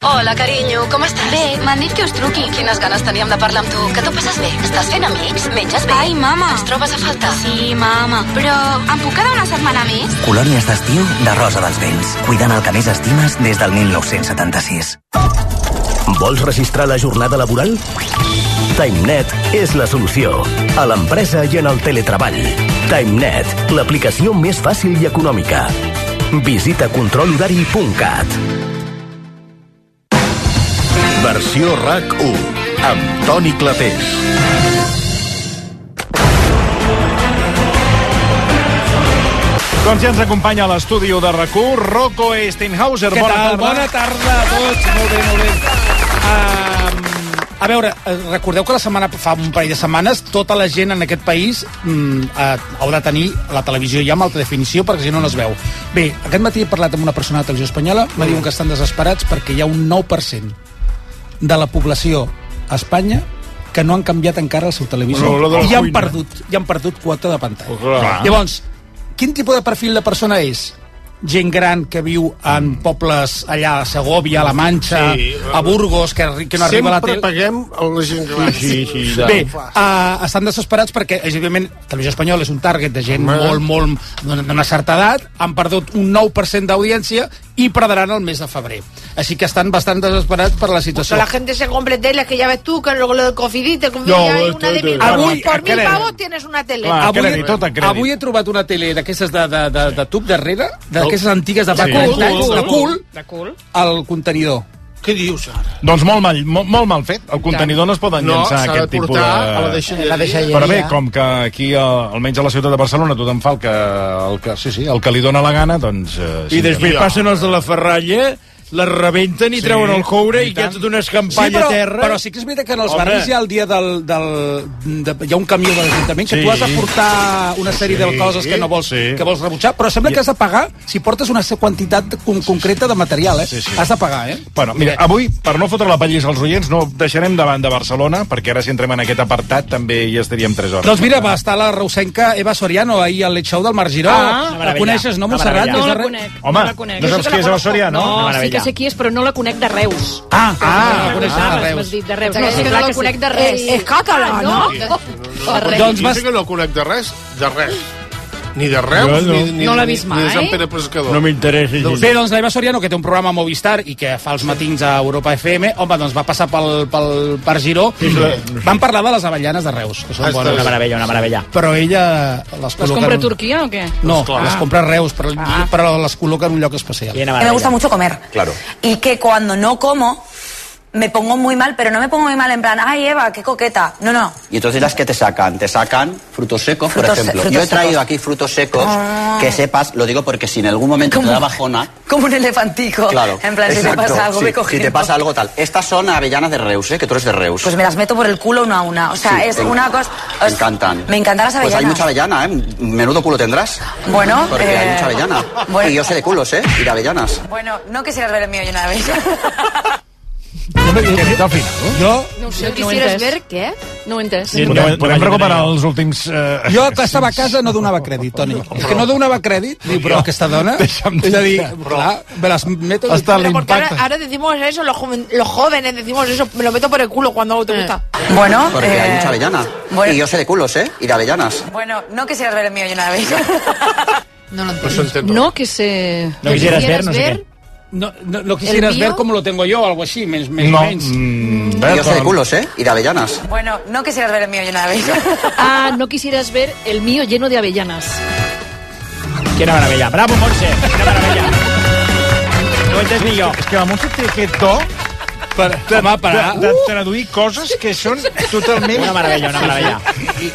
[SPEAKER 27] Hola, carinyo, com estàs? Bé, m'han dit que us truqui. Quines ganes teníem de parlar amb tu. Que t'ho passes bé? Estàs fent amics? Menges bé? Ai, mama. Ens trobes a faltar? Sí, mama. Però em puc quedar una setmana més?
[SPEAKER 2] Colònies d'estiu de Rosa dels Vents. Cuidant el que més estimes des del 1976.
[SPEAKER 31] Vols registrar la jornada laboral? TimeNet és la solució. A l'empresa i en el teletreball. TimeNet, l'aplicació més fàcil i econòmica. Visita controlhorari.cat.
[SPEAKER 1] Versió RAC 1 amb Toni Clapés.
[SPEAKER 18] Doncs ja ens acompanya a l'estudi de RAC1, Rocco Steinhauser.
[SPEAKER 33] Què
[SPEAKER 18] Bona
[SPEAKER 33] tal?
[SPEAKER 18] tarda.
[SPEAKER 33] Bona tarda a tots. Molt bé, molt bé. Um, a veure, eh, recordeu que la setmana fa un parell de setmanes tota la gent en aquest país mm, eh, haurà de tenir la televisió ja amb alta definició perquè si no no es veu. Bé, aquest matí he parlat amb una persona de televisió espanyola, me diuen que estan desesperats perquè hi ha un 9% de la població a Espanya que no han canviat encara el seu televisor
[SPEAKER 18] Bueno, la de la
[SPEAKER 33] i han
[SPEAKER 18] cuina. eh?
[SPEAKER 33] perdut, i han perdut quota de pantalla.
[SPEAKER 18] clar.
[SPEAKER 33] Llavors, quin tipus de perfil de persona és? Gent gran que viu
[SPEAKER 18] Mm.
[SPEAKER 33] en pobles allà a Segovia, a La Manxa,
[SPEAKER 21] Sí.
[SPEAKER 33] a Burgos, que, arri- que no arriba a la
[SPEAKER 21] Sempre
[SPEAKER 33] tele...
[SPEAKER 21] paguem a la gent gran.
[SPEAKER 33] Sí, Bé, uh, estan desesperats perquè, és, òbviament, Televisió Espanyola és un target de gent
[SPEAKER 21] Home.
[SPEAKER 33] molt, molt d'una- d'una certa edat, han perdut un 9% d'audiència i perdran el mes de febrer. Així que estan bastant desesperats per la situació.
[SPEAKER 24] Pero la gente se compra teles que ya ves tú, que luego lo del confidite, que ya hay una de mil
[SPEAKER 33] Avui,
[SPEAKER 24] pavos. Por mil
[SPEAKER 33] aquella-
[SPEAKER 24] pavos tienes una tele.
[SPEAKER 33] Clar, avui,
[SPEAKER 24] Avui-
[SPEAKER 33] tot avui he trobat una tele d'aquestes de, de, de, de tub darrere, d'aquestes antigues de fa
[SPEAKER 18] Sí.
[SPEAKER 33] 40 anys,
[SPEAKER 18] De
[SPEAKER 33] de
[SPEAKER 18] cul.
[SPEAKER 33] cul, al contenidor. Què dius, ara?
[SPEAKER 18] Doncs molt mal, molt, molt mal fet. El contenidor no es poden No, llançar s'ha de aquest tipus de... portar a la deixalleria.
[SPEAKER 33] La deixalleria.
[SPEAKER 18] Però bé, com que aquí, eh, almenys a la ciutat de Barcelona, tothom fa el que, el que, sí, sí, el que li dóna la gana, doncs... Eh,
[SPEAKER 7] I després passen els de la ferralla, les rebenten i
[SPEAKER 33] Sí,
[SPEAKER 7] treuen el coure i, hi
[SPEAKER 33] i
[SPEAKER 7] ha
[SPEAKER 33] tant.
[SPEAKER 7] tota una escampalla
[SPEAKER 33] però,
[SPEAKER 7] a terra.
[SPEAKER 33] però sí que és veritat que en els
[SPEAKER 7] Home.
[SPEAKER 33] barris hi ha el dia del... del de, hi ha un camió de l'Ajuntament que
[SPEAKER 7] Sí.
[SPEAKER 33] tu has de portar una sèrie
[SPEAKER 7] Sí.
[SPEAKER 33] de coses que no vols,
[SPEAKER 7] Sí.
[SPEAKER 33] que vols rebutjar, però sembla que has de pagar si portes una quantitat con, concreta de material, eh?
[SPEAKER 18] Sí, sí.
[SPEAKER 33] Has de pagar, eh?
[SPEAKER 18] Bueno, mira, avui, per no fotre la pallissa als oients, no deixarem davant de Barcelona, perquè ara si entrem en aquest apartat també hi estaríem 3 hores.
[SPEAKER 33] Doncs mira, va estar la reusenca Eva Soriano ahir al Let's Show del Mar Giró.
[SPEAKER 19] Ah, una
[SPEAKER 33] la
[SPEAKER 19] meravella,
[SPEAKER 33] coneixes, no,
[SPEAKER 19] una
[SPEAKER 33] Montserrat?
[SPEAKER 19] meravella.
[SPEAKER 33] Que és
[SPEAKER 19] No
[SPEAKER 33] de
[SPEAKER 19] la
[SPEAKER 33] Re-
[SPEAKER 19] conec. Home, No la conec. no saps
[SPEAKER 33] Jo sé
[SPEAKER 18] qui és
[SPEAKER 33] la
[SPEAKER 18] Eva Soriano?
[SPEAKER 19] No,
[SPEAKER 18] Una
[SPEAKER 19] sí
[SPEAKER 18] meravella.
[SPEAKER 19] que sé qui és, però no la conec de Reus.
[SPEAKER 33] Ah,
[SPEAKER 18] ah,
[SPEAKER 19] no,
[SPEAKER 18] coneixes de
[SPEAKER 19] no,
[SPEAKER 18] Reus.
[SPEAKER 19] M'has dit de Reus. No,
[SPEAKER 22] Aquesta
[SPEAKER 19] sí, Eh,
[SPEAKER 22] que
[SPEAKER 19] clar
[SPEAKER 22] no
[SPEAKER 19] que
[SPEAKER 22] la conec
[SPEAKER 19] sí.
[SPEAKER 22] de res.
[SPEAKER 24] És- és càcala,
[SPEAKER 19] Ah,
[SPEAKER 24] no?
[SPEAKER 19] De res.
[SPEAKER 21] Doncs vas... Jo sé que no conec de res, de res. Ni de Reus,
[SPEAKER 33] Jo no.
[SPEAKER 21] ni, ni,
[SPEAKER 33] No l'he vist
[SPEAKER 21] ni de
[SPEAKER 33] mai.
[SPEAKER 21] Sant Pere Pescador.
[SPEAKER 33] No
[SPEAKER 7] m'interessa.
[SPEAKER 33] Doncs bé, doncs l'Eva Soriano, que té un programa a Movistar i que fa els matins a Europa FM, home, doncs va passar pel, pel per Giró. Van parlar de les avellanes de Reus,
[SPEAKER 18] Ah,
[SPEAKER 33] que són
[SPEAKER 14] Ostres.
[SPEAKER 33] bones.
[SPEAKER 14] Una meravella, una meravella.
[SPEAKER 33] Però ella les
[SPEAKER 19] ¿Los
[SPEAKER 33] col·loca...
[SPEAKER 19] compra
[SPEAKER 33] en un-
[SPEAKER 19] Turquía o qué?
[SPEAKER 33] No,
[SPEAKER 19] Pues clar.
[SPEAKER 33] les compra a Reus, però, però les col·loca en un lloc especial.
[SPEAKER 34] Ah. Que me gusta mucho comer.
[SPEAKER 33] Claro.
[SPEAKER 34] Y que cuando no como, me pongo muy mal, pero no me pongo muy mal en plan, ay Eva, qué coqueta. No, no.
[SPEAKER 35] Y entonces las que te sacan, te sacan frutos secos,
[SPEAKER 34] Frutos
[SPEAKER 35] por ejemplo.
[SPEAKER 34] se- frutos
[SPEAKER 35] Yo he traído
[SPEAKER 34] secos.
[SPEAKER 35] aquí frutos secos
[SPEAKER 34] Ah.
[SPEAKER 35] que sepas, lo digo porque si en algún momento te da bajona,
[SPEAKER 34] Como un elefantico.
[SPEAKER 35] claro.
[SPEAKER 34] En plan, si te
[SPEAKER 35] Exacto,
[SPEAKER 34] pasa algo,
[SPEAKER 35] sí,
[SPEAKER 34] me coges.
[SPEAKER 35] Si te pasa algo tal. Estas son avellanas de Reus, ¿eh? que tú eres de Reus.
[SPEAKER 34] Pues me las meto por el culo una a una. O sea,
[SPEAKER 35] Sí,
[SPEAKER 34] es
[SPEAKER 35] en-
[SPEAKER 34] una cosa.
[SPEAKER 35] Me encantan.
[SPEAKER 34] Me encantan las
[SPEAKER 35] Pues hay
[SPEAKER 34] avellanas.
[SPEAKER 35] mucha avellana, ¿eh? Menudo culo tendrás.
[SPEAKER 34] Bueno,
[SPEAKER 35] Porque hay
[SPEAKER 34] eh,
[SPEAKER 35] mucha avellana.
[SPEAKER 34] bueno.
[SPEAKER 35] Y yo sé de culos, ¿eh? Y de avellanas.
[SPEAKER 34] Bueno, no quisieras ver el mío lleno de avellanas.
[SPEAKER 33] Jo
[SPEAKER 19] No ho sé,
[SPEAKER 22] No quisieras ver
[SPEAKER 19] què? No ho he entès.
[SPEAKER 18] Podem, podem recuperar els últims... Eh...
[SPEAKER 33] Jo que estava a casa no donava crèdit, Toni. És que no donava crèdit, diu, però aquesta dona... És a dir, clar, me las meto...
[SPEAKER 24] Pero porque ahora, ahora decimos eso, los, joven- los jóvenes decimos eso, me lo meto por el culo cuando algo te gusta.
[SPEAKER 34] Bueno,
[SPEAKER 35] Porque hay
[SPEAKER 34] eh,
[SPEAKER 35] mucha avellana.
[SPEAKER 34] bueno.
[SPEAKER 35] Y yo sé de culos, ¿eh? Y de avellanas.
[SPEAKER 34] Bueno, no quisieras ver el mío lleno de avellanas.
[SPEAKER 35] Pues entiendo.
[SPEAKER 19] No, que se...
[SPEAKER 35] No quisieras ver, no sé
[SPEAKER 19] ver,
[SPEAKER 14] No, no, no quisieras
[SPEAKER 34] ¿El
[SPEAKER 14] ver
[SPEAKER 34] bio?
[SPEAKER 14] cómo lo tengo yo, algo así, més, més
[SPEAKER 18] No,
[SPEAKER 14] menys.
[SPEAKER 35] Yo soy de culos, ¿eh? Y de avellanas.
[SPEAKER 34] Bueno, no quisieras ver el mío lleno de avellanas.
[SPEAKER 19] Ah, no quisieras ver el mío lleno de avellanas.
[SPEAKER 36] Quina meravella. Bravo, Montse. Quina meravella. No ho entens millor.
[SPEAKER 18] És que la Montse té aquest to per, de,
[SPEAKER 36] Home, per-
[SPEAKER 18] de, de traduir coses que són totalment...
[SPEAKER 36] Una meravella, una meravella.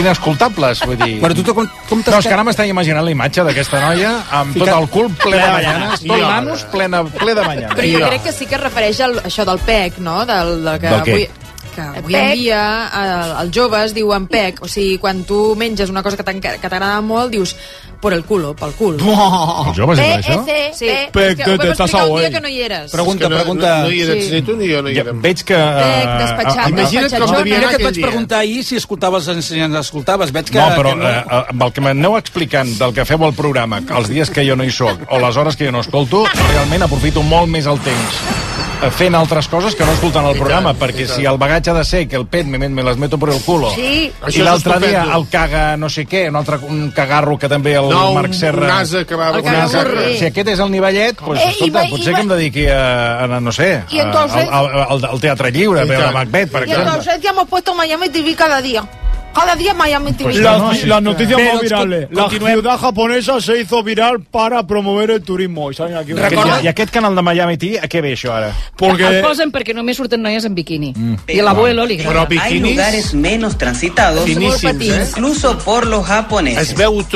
[SPEAKER 18] Inescoltables, vull dir...
[SPEAKER 36] Però tu
[SPEAKER 18] com, com no, és que ara m'estava imaginant la imatge d'aquesta noia amb tot el cul ple de banyanes, tot manus ple, ple de banyanes.
[SPEAKER 22] Però jo crec que sí que es refereix al, això del PEC, no? Del, del que
[SPEAKER 18] Del què?
[SPEAKER 22] avui, que avui en
[SPEAKER 24] PEC.
[SPEAKER 22] dia eh, els joves diuen PEC. O sigui, quan tu menges una cosa que t'enca- que t'agrada molt, dius por el culo, pel cul.
[SPEAKER 36] Oh.
[SPEAKER 22] Els
[SPEAKER 18] joves diuen això?
[SPEAKER 22] Sí.
[SPEAKER 18] PEC,
[SPEAKER 22] És que ho
[SPEAKER 18] te-
[SPEAKER 22] vam
[SPEAKER 18] t'has
[SPEAKER 22] explicar un
[SPEAKER 18] ahoy.
[SPEAKER 22] dia que no hi eres.
[SPEAKER 18] Pregunta,
[SPEAKER 21] no,
[SPEAKER 18] pregunta.
[SPEAKER 21] No, no hi eres
[SPEAKER 22] Sí.
[SPEAKER 21] ni tu ni jo no hi
[SPEAKER 18] Ja,
[SPEAKER 21] érem.
[SPEAKER 18] veig que...
[SPEAKER 22] Pec, despatxat,
[SPEAKER 18] eh,
[SPEAKER 22] despatxat.
[SPEAKER 18] eh,
[SPEAKER 22] Imagina't com devia anar
[SPEAKER 33] Mira que
[SPEAKER 22] aquell
[SPEAKER 33] t'vaig
[SPEAKER 22] dia.
[SPEAKER 33] preguntar ahir si escoltaves si ens escoltaves. Veig que...
[SPEAKER 18] No, però
[SPEAKER 33] que
[SPEAKER 18] eh, eh, amb el que m'aneu explicant del que feu al programa, els dies que jo no hi sóc o les hores que jo no escolto, realment aprofito molt més el temps eh, fent altres coses que no escoltant el programa, perquè si el bagatge ha de ser que el pet me, met- me les meto per el culo
[SPEAKER 21] Sí. Això
[SPEAKER 18] i
[SPEAKER 21] és
[SPEAKER 18] l'altre dia
[SPEAKER 21] estupendo.
[SPEAKER 18] el caga no sé què, un altre un cagarro que també el
[SPEAKER 21] No, un-
[SPEAKER 18] Marc Serra...
[SPEAKER 21] un ase que va- El
[SPEAKER 18] un ase.
[SPEAKER 21] cagaburro.
[SPEAKER 18] Si aquest és el nivellet, doncs,
[SPEAKER 24] Eh, i
[SPEAKER 18] escolta,
[SPEAKER 24] va- i
[SPEAKER 18] potser que
[SPEAKER 24] va-
[SPEAKER 18] em dediqui a, a, no sé,
[SPEAKER 24] I
[SPEAKER 18] a-
[SPEAKER 24] entonces-
[SPEAKER 18] al, al, al, al Teatre Lliure, a veure Macbeth, per
[SPEAKER 24] Y
[SPEAKER 18] exemple.
[SPEAKER 24] entonces ya hemos puesto Miami TV cada día. Cada día Miami TV.
[SPEAKER 18] Pues
[SPEAKER 30] Las,
[SPEAKER 18] no, sí,
[SPEAKER 30] las
[SPEAKER 18] claro.
[SPEAKER 30] noticias
[SPEAKER 18] Pero
[SPEAKER 30] más
[SPEAKER 18] con-
[SPEAKER 30] virales. eh? La ciudad japonesa se hizo viral para promover el turismo. Y salen aquí una-
[SPEAKER 18] Aquest, i, I aquest canal de Miami TV, a què ve això ara?
[SPEAKER 19] El posen perquè només surten noies en biquini. I a l'abuelo li agrada.
[SPEAKER 31] Hay lugares menos transitados,
[SPEAKER 19] Finísimos, ¿eh?
[SPEAKER 31] incluso por los japoneses,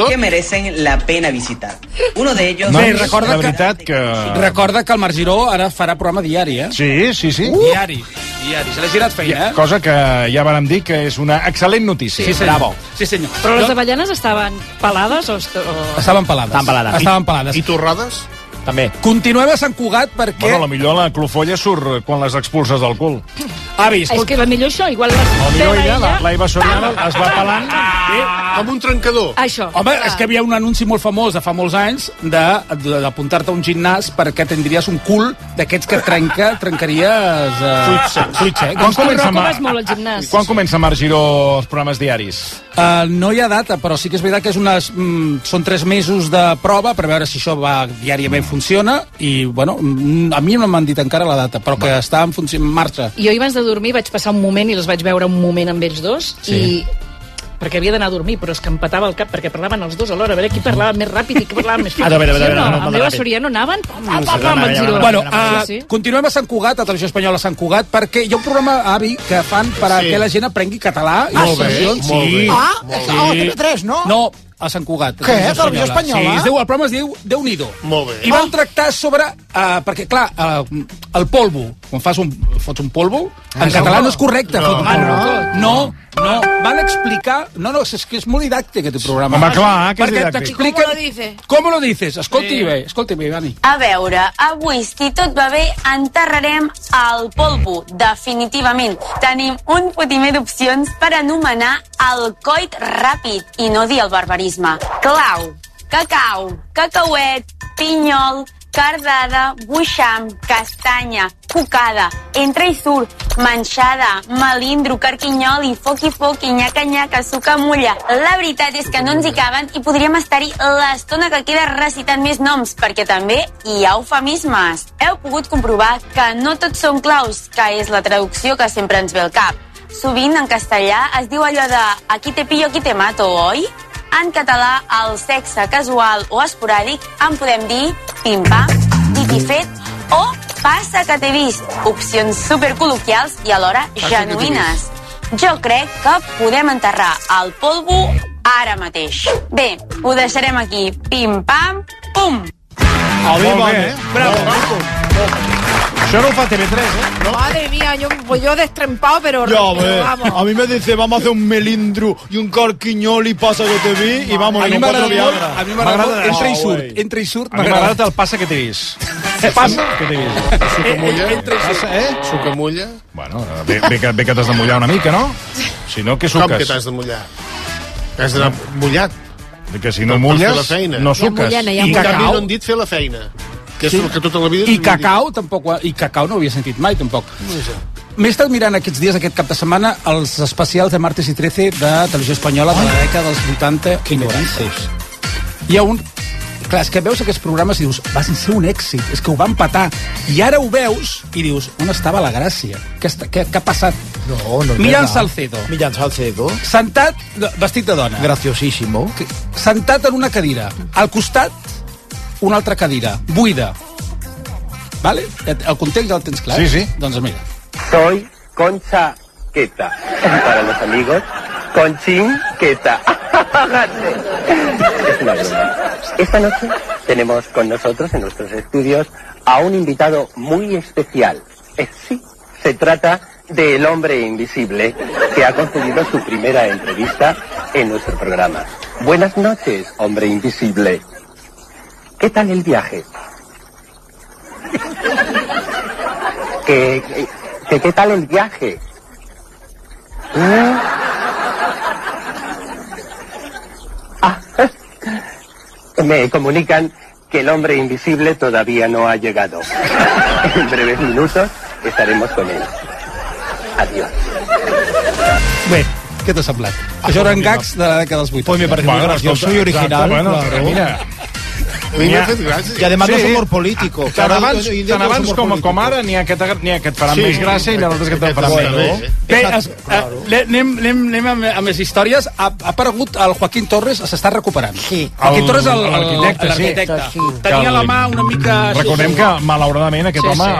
[SPEAKER 31] que merecen la pena visitar. Uno de ellos...
[SPEAKER 33] No, Bé, recorda
[SPEAKER 18] la
[SPEAKER 33] que-
[SPEAKER 18] veritat que...
[SPEAKER 33] Recorda que el Marc Giró ara farà programa diari, eh?
[SPEAKER 18] Sí, sí, sí.
[SPEAKER 33] Diari, diari. Se l'ha girat feina, eh?
[SPEAKER 18] Cosa que ja vàrem dir que és una excel·lent notícia.
[SPEAKER 33] Sí, senyor. Sí, senyor.
[SPEAKER 19] Però les avellanes estaven pelades o... est- o...
[SPEAKER 33] Estaven pelades. Estaven pelades. Estaven pelades.
[SPEAKER 21] I torrades?
[SPEAKER 18] També.
[SPEAKER 33] Continuem a Sant Cugat perquè...
[SPEAKER 18] Bueno, la millor la clofolla surt quan les expulses del cul.
[SPEAKER 33] Avis,
[SPEAKER 19] És que la millor això, igual la
[SPEAKER 18] millor
[SPEAKER 19] pela
[SPEAKER 18] ella,
[SPEAKER 19] ella...
[SPEAKER 18] la- la Iva Soriano, es va pelant
[SPEAKER 19] eh,
[SPEAKER 21] amb un trencador.
[SPEAKER 19] Això.
[SPEAKER 33] Home, és que hi havia un anunci molt famós de fa molts anys de- de- d'apuntar-te a un gimnàs perquè tindries un cul d'aquests que trenca, trencaries... Eh...
[SPEAKER 18] Fruitsa. Fruitsa, eh?
[SPEAKER 33] Quan
[SPEAKER 18] Com comença,
[SPEAKER 33] comença...
[SPEAKER 18] Ma?
[SPEAKER 19] Vas molt al gimnàs.
[SPEAKER 18] Quan comença Marc Giró els programes diaris?
[SPEAKER 33] Uh, no hi ha data, però sí que és veritat que és unes, mm, són tres mesos de prova per veure si això va diàriament funciona i, bueno, mm, a mi no m'han dit encara la data, però que està en, funció, en marxa.
[SPEAKER 19] Jo ahir abans de dormir vaig passar un moment i els vaig veure un moment amb ells dos
[SPEAKER 33] Sí.
[SPEAKER 19] i perquè havia d'anar a dormir, però és que em petava el cap perquè parlaven els dos alhora, a veure qui parlava més ràpid i qui parlava més
[SPEAKER 33] Ah,
[SPEAKER 19] fort.
[SPEAKER 33] a veure, a veure, a veure,
[SPEAKER 19] Sí o
[SPEAKER 33] no,
[SPEAKER 19] no,
[SPEAKER 33] molt
[SPEAKER 19] amb l'Eva
[SPEAKER 33] ràpid.
[SPEAKER 19] Soriano anaven... Pam, pam, pam,
[SPEAKER 33] Bueno,
[SPEAKER 19] amb el Giró.
[SPEAKER 33] ah,
[SPEAKER 19] Sí, sí.
[SPEAKER 33] continuem a Sant Cugat, a Televisió Espanyola Sant Cugat, perquè hi ha un programa, avi, que fan per a
[SPEAKER 14] Sí.
[SPEAKER 33] que la gent aprengui català. i
[SPEAKER 14] Ah,
[SPEAKER 33] les
[SPEAKER 14] sí?
[SPEAKER 33] sessions.
[SPEAKER 14] Molt bé,
[SPEAKER 33] Ah,
[SPEAKER 14] molt
[SPEAKER 33] sí.
[SPEAKER 14] bé. Ah, a TV3, no?
[SPEAKER 33] No, a Sant Cugat. a
[SPEAKER 14] Què? Televisió Espanyola? Ah.
[SPEAKER 33] Sí, es diu, el programa es diu Déu-n'hi-do.
[SPEAKER 21] Molt bé.
[SPEAKER 33] I van tractar sobre... eh, perquè, clar, eh, el polvo, quan fas un, fots un polvo, en
[SPEAKER 14] sí.
[SPEAKER 33] català no és correcte.
[SPEAKER 14] Ah, No.
[SPEAKER 33] fot un
[SPEAKER 14] Ah,
[SPEAKER 33] polvo. no. No, van explicar... No, no, és que és molt didàctic aquest programa.
[SPEAKER 18] Home, clar, que és
[SPEAKER 33] Perquè
[SPEAKER 18] didàctic.
[SPEAKER 33] t'expliquen...
[SPEAKER 24] ¿Cómo lo dice?
[SPEAKER 33] Com lo dices? Escolti
[SPEAKER 34] Sí.
[SPEAKER 33] bé, escolti bé, Dani.
[SPEAKER 34] A veure, avui, si tot va bé, enterrarem el polvo, definitivament. Tenim un fotimer d'opcions per anomenar el coit ràpid i no dir el barbarisme. Clau, cacau, cacauet, pinyol, cardada, buixam, castanya, cucada, entra i surt, manxada, malindro, carquinyoli, foqui foqui, nyaca nyaca, suca mulla. La veritat és que no ens hi caben i podríem estar-hi l'estona que queda recitant més noms, perquè també hi ha eufemismes. Heu pogut comprovar que no tots són claus, que és la traducció que sempre ens ve al cap. Sovint en castellà es diu allò de aquí te pillo, aquí te mato, oi? En català, el sexe casual o esporàdic en podem dir pim-pam, dit i fet o passa que t'he vist. Opcions supercol·loquials i alhora
[SPEAKER 29] Passa que t'he
[SPEAKER 34] genuïnes. Jo crec que podem enterrar el polvo ara mateix. Bé, ho deixarem aquí. Pim-pam, pum!
[SPEAKER 18] Molt bé, eh? Bravo. Això no ho fa TV3, eh?
[SPEAKER 24] Madre mía, yo, pues yo destrempado, pero,
[SPEAKER 30] Ya, a
[SPEAKER 24] pero
[SPEAKER 30] ver,
[SPEAKER 24] vamos.
[SPEAKER 30] a mí me dice, vamos a hacer un melindro y un carquiñol y pasa que te vi y vamos,
[SPEAKER 33] a
[SPEAKER 30] y
[SPEAKER 33] mi
[SPEAKER 30] con
[SPEAKER 33] m'agrada
[SPEAKER 30] cuatro Ah,
[SPEAKER 33] molt,
[SPEAKER 30] Viagra.
[SPEAKER 33] a mi m'agrada molt, entra i surt, entra i surt,
[SPEAKER 18] A mi m'agrada el passa que t'he vist. Eh, Passa que t'he vist.
[SPEAKER 21] Eh, Sucamulla?
[SPEAKER 33] Entra i
[SPEAKER 21] surt. Eh? Sucamulla?
[SPEAKER 18] Bueno, bé, bé que, bé que t'has de mullar una mica, no? Si no, què suques?
[SPEAKER 21] Com que t'has de mullar? Que has d'anar mullat.
[SPEAKER 18] Que si no
[SPEAKER 21] Per Doncs fer la
[SPEAKER 18] mulles,
[SPEAKER 21] feina.
[SPEAKER 18] no suques.
[SPEAKER 21] I en canvi no han dit fer la feina. Que és el que tota la vida...
[SPEAKER 33] I cacau, tampoc, ho- i cacau no ho havia sentit mai, tampoc. M'he estat mirant aquests dies, aquest cap de setmana, els especials de Martes i 13 de Televisió Espanyola de la dècada dels 80 i 90. Hi ha un Clar, és que veus aquests programes i dius, va ser un èxit, és que ho van patar. I ara ho veus i dius, on estava la gràcia? Què, està, què, què ha passat? No,
[SPEAKER 37] no,
[SPEAKER 33] Mirant
[SPEAKER 37] no.
[SPEAKER 33] Salcedo.
[SPEAKER 18] Mirant Doncs Salcedo.
[SPEAKER 33] Sentat, vestit de dona.
[SPEAKER 18] Graciosíssimo.
[SPEAKER 33] Sentat en una cadira. Al costat, una altra cadira, buida. Vale? El context ja el tens clar?
[SPEAKER 25] Sí, sí.
[SPEAKER 33] Doncs mira.
[SPEAKER 25] Soy Concha Queta. Para los amigos, Conchín Queta. Es una broma. Esta noche tenemos con nosotros en nuestros estudios a un invitado muy especial. Eh, Sí, se trata del hombre invisible que ha concedido su primera entrevista en nuestro programa. Buenas noches, hombre invisible. ¿Qué tal el viaje? ¿Qué, qué- qué, qué tal el viaje? ¿Eh? Ah, me comunican que el hombre invisible todavía no ha llegado. En breves minutos estaremos con él. Adiós.
[SPEAKER 33] Bé, què t'ha semblat?
[SPEAKER 18] Ah,
[SPEAKER 33] Això
[SPEAKER 18] doncs
[SPEAKER 33] eren gags de la dècada dels 80. Pues me
[SPEAKER 18] parece muy gracioso y original, claro.
[SPEAKER 20] A mi m'ha fet gràcia.
[SPEAKER 18] Y además no es
[SPEAKER 20] Sí.
[SPEAKER 18] humor político.
[SPEAKER 20] Tant
[SPEAKER 18] Claro,
[SPEAKER 20] abans,
[SPEAKER 18] hoy en día
[SPEAKER 20] tant
[SPEAKER 18] no es
[SPEAKER 20] abans
[SPEAKER 18] humor
[SPEAKER 20] com,
[SPEAKER 18] político.
[SPEAKER 20] com ara n'hi ha que t'agra- n'hi ha que et faran
[SPEAKER 18] Sí,
[SPEAKER 20] més gràcia i n'hi ha altres que te'n faran
[SPEAKER 33] Bueno,
[SPEAKER 20] menys.
[SPEAKER 33] Bé, es, eh, le- anem, anem, anem amb, amb les històries. Ha, ha aparegut el Joaquín Torres, s'està recuperant. Sí. Joaquín
[SPEAKER 20] El-
[SPEAKER 33] Torres, el- el-
[SPEAKER 20] l'arquitecte, sí.
[SPEAKER 33] l'arquitecte.
[SPEAKER 20] Sí.
[SPEAKER 33] Tenia la mà una mica...
[SPEAKER 20] Recordem que, malauradament, aquest
[SPEAKER 33] Sí,
[SPEAKER 20] sí. home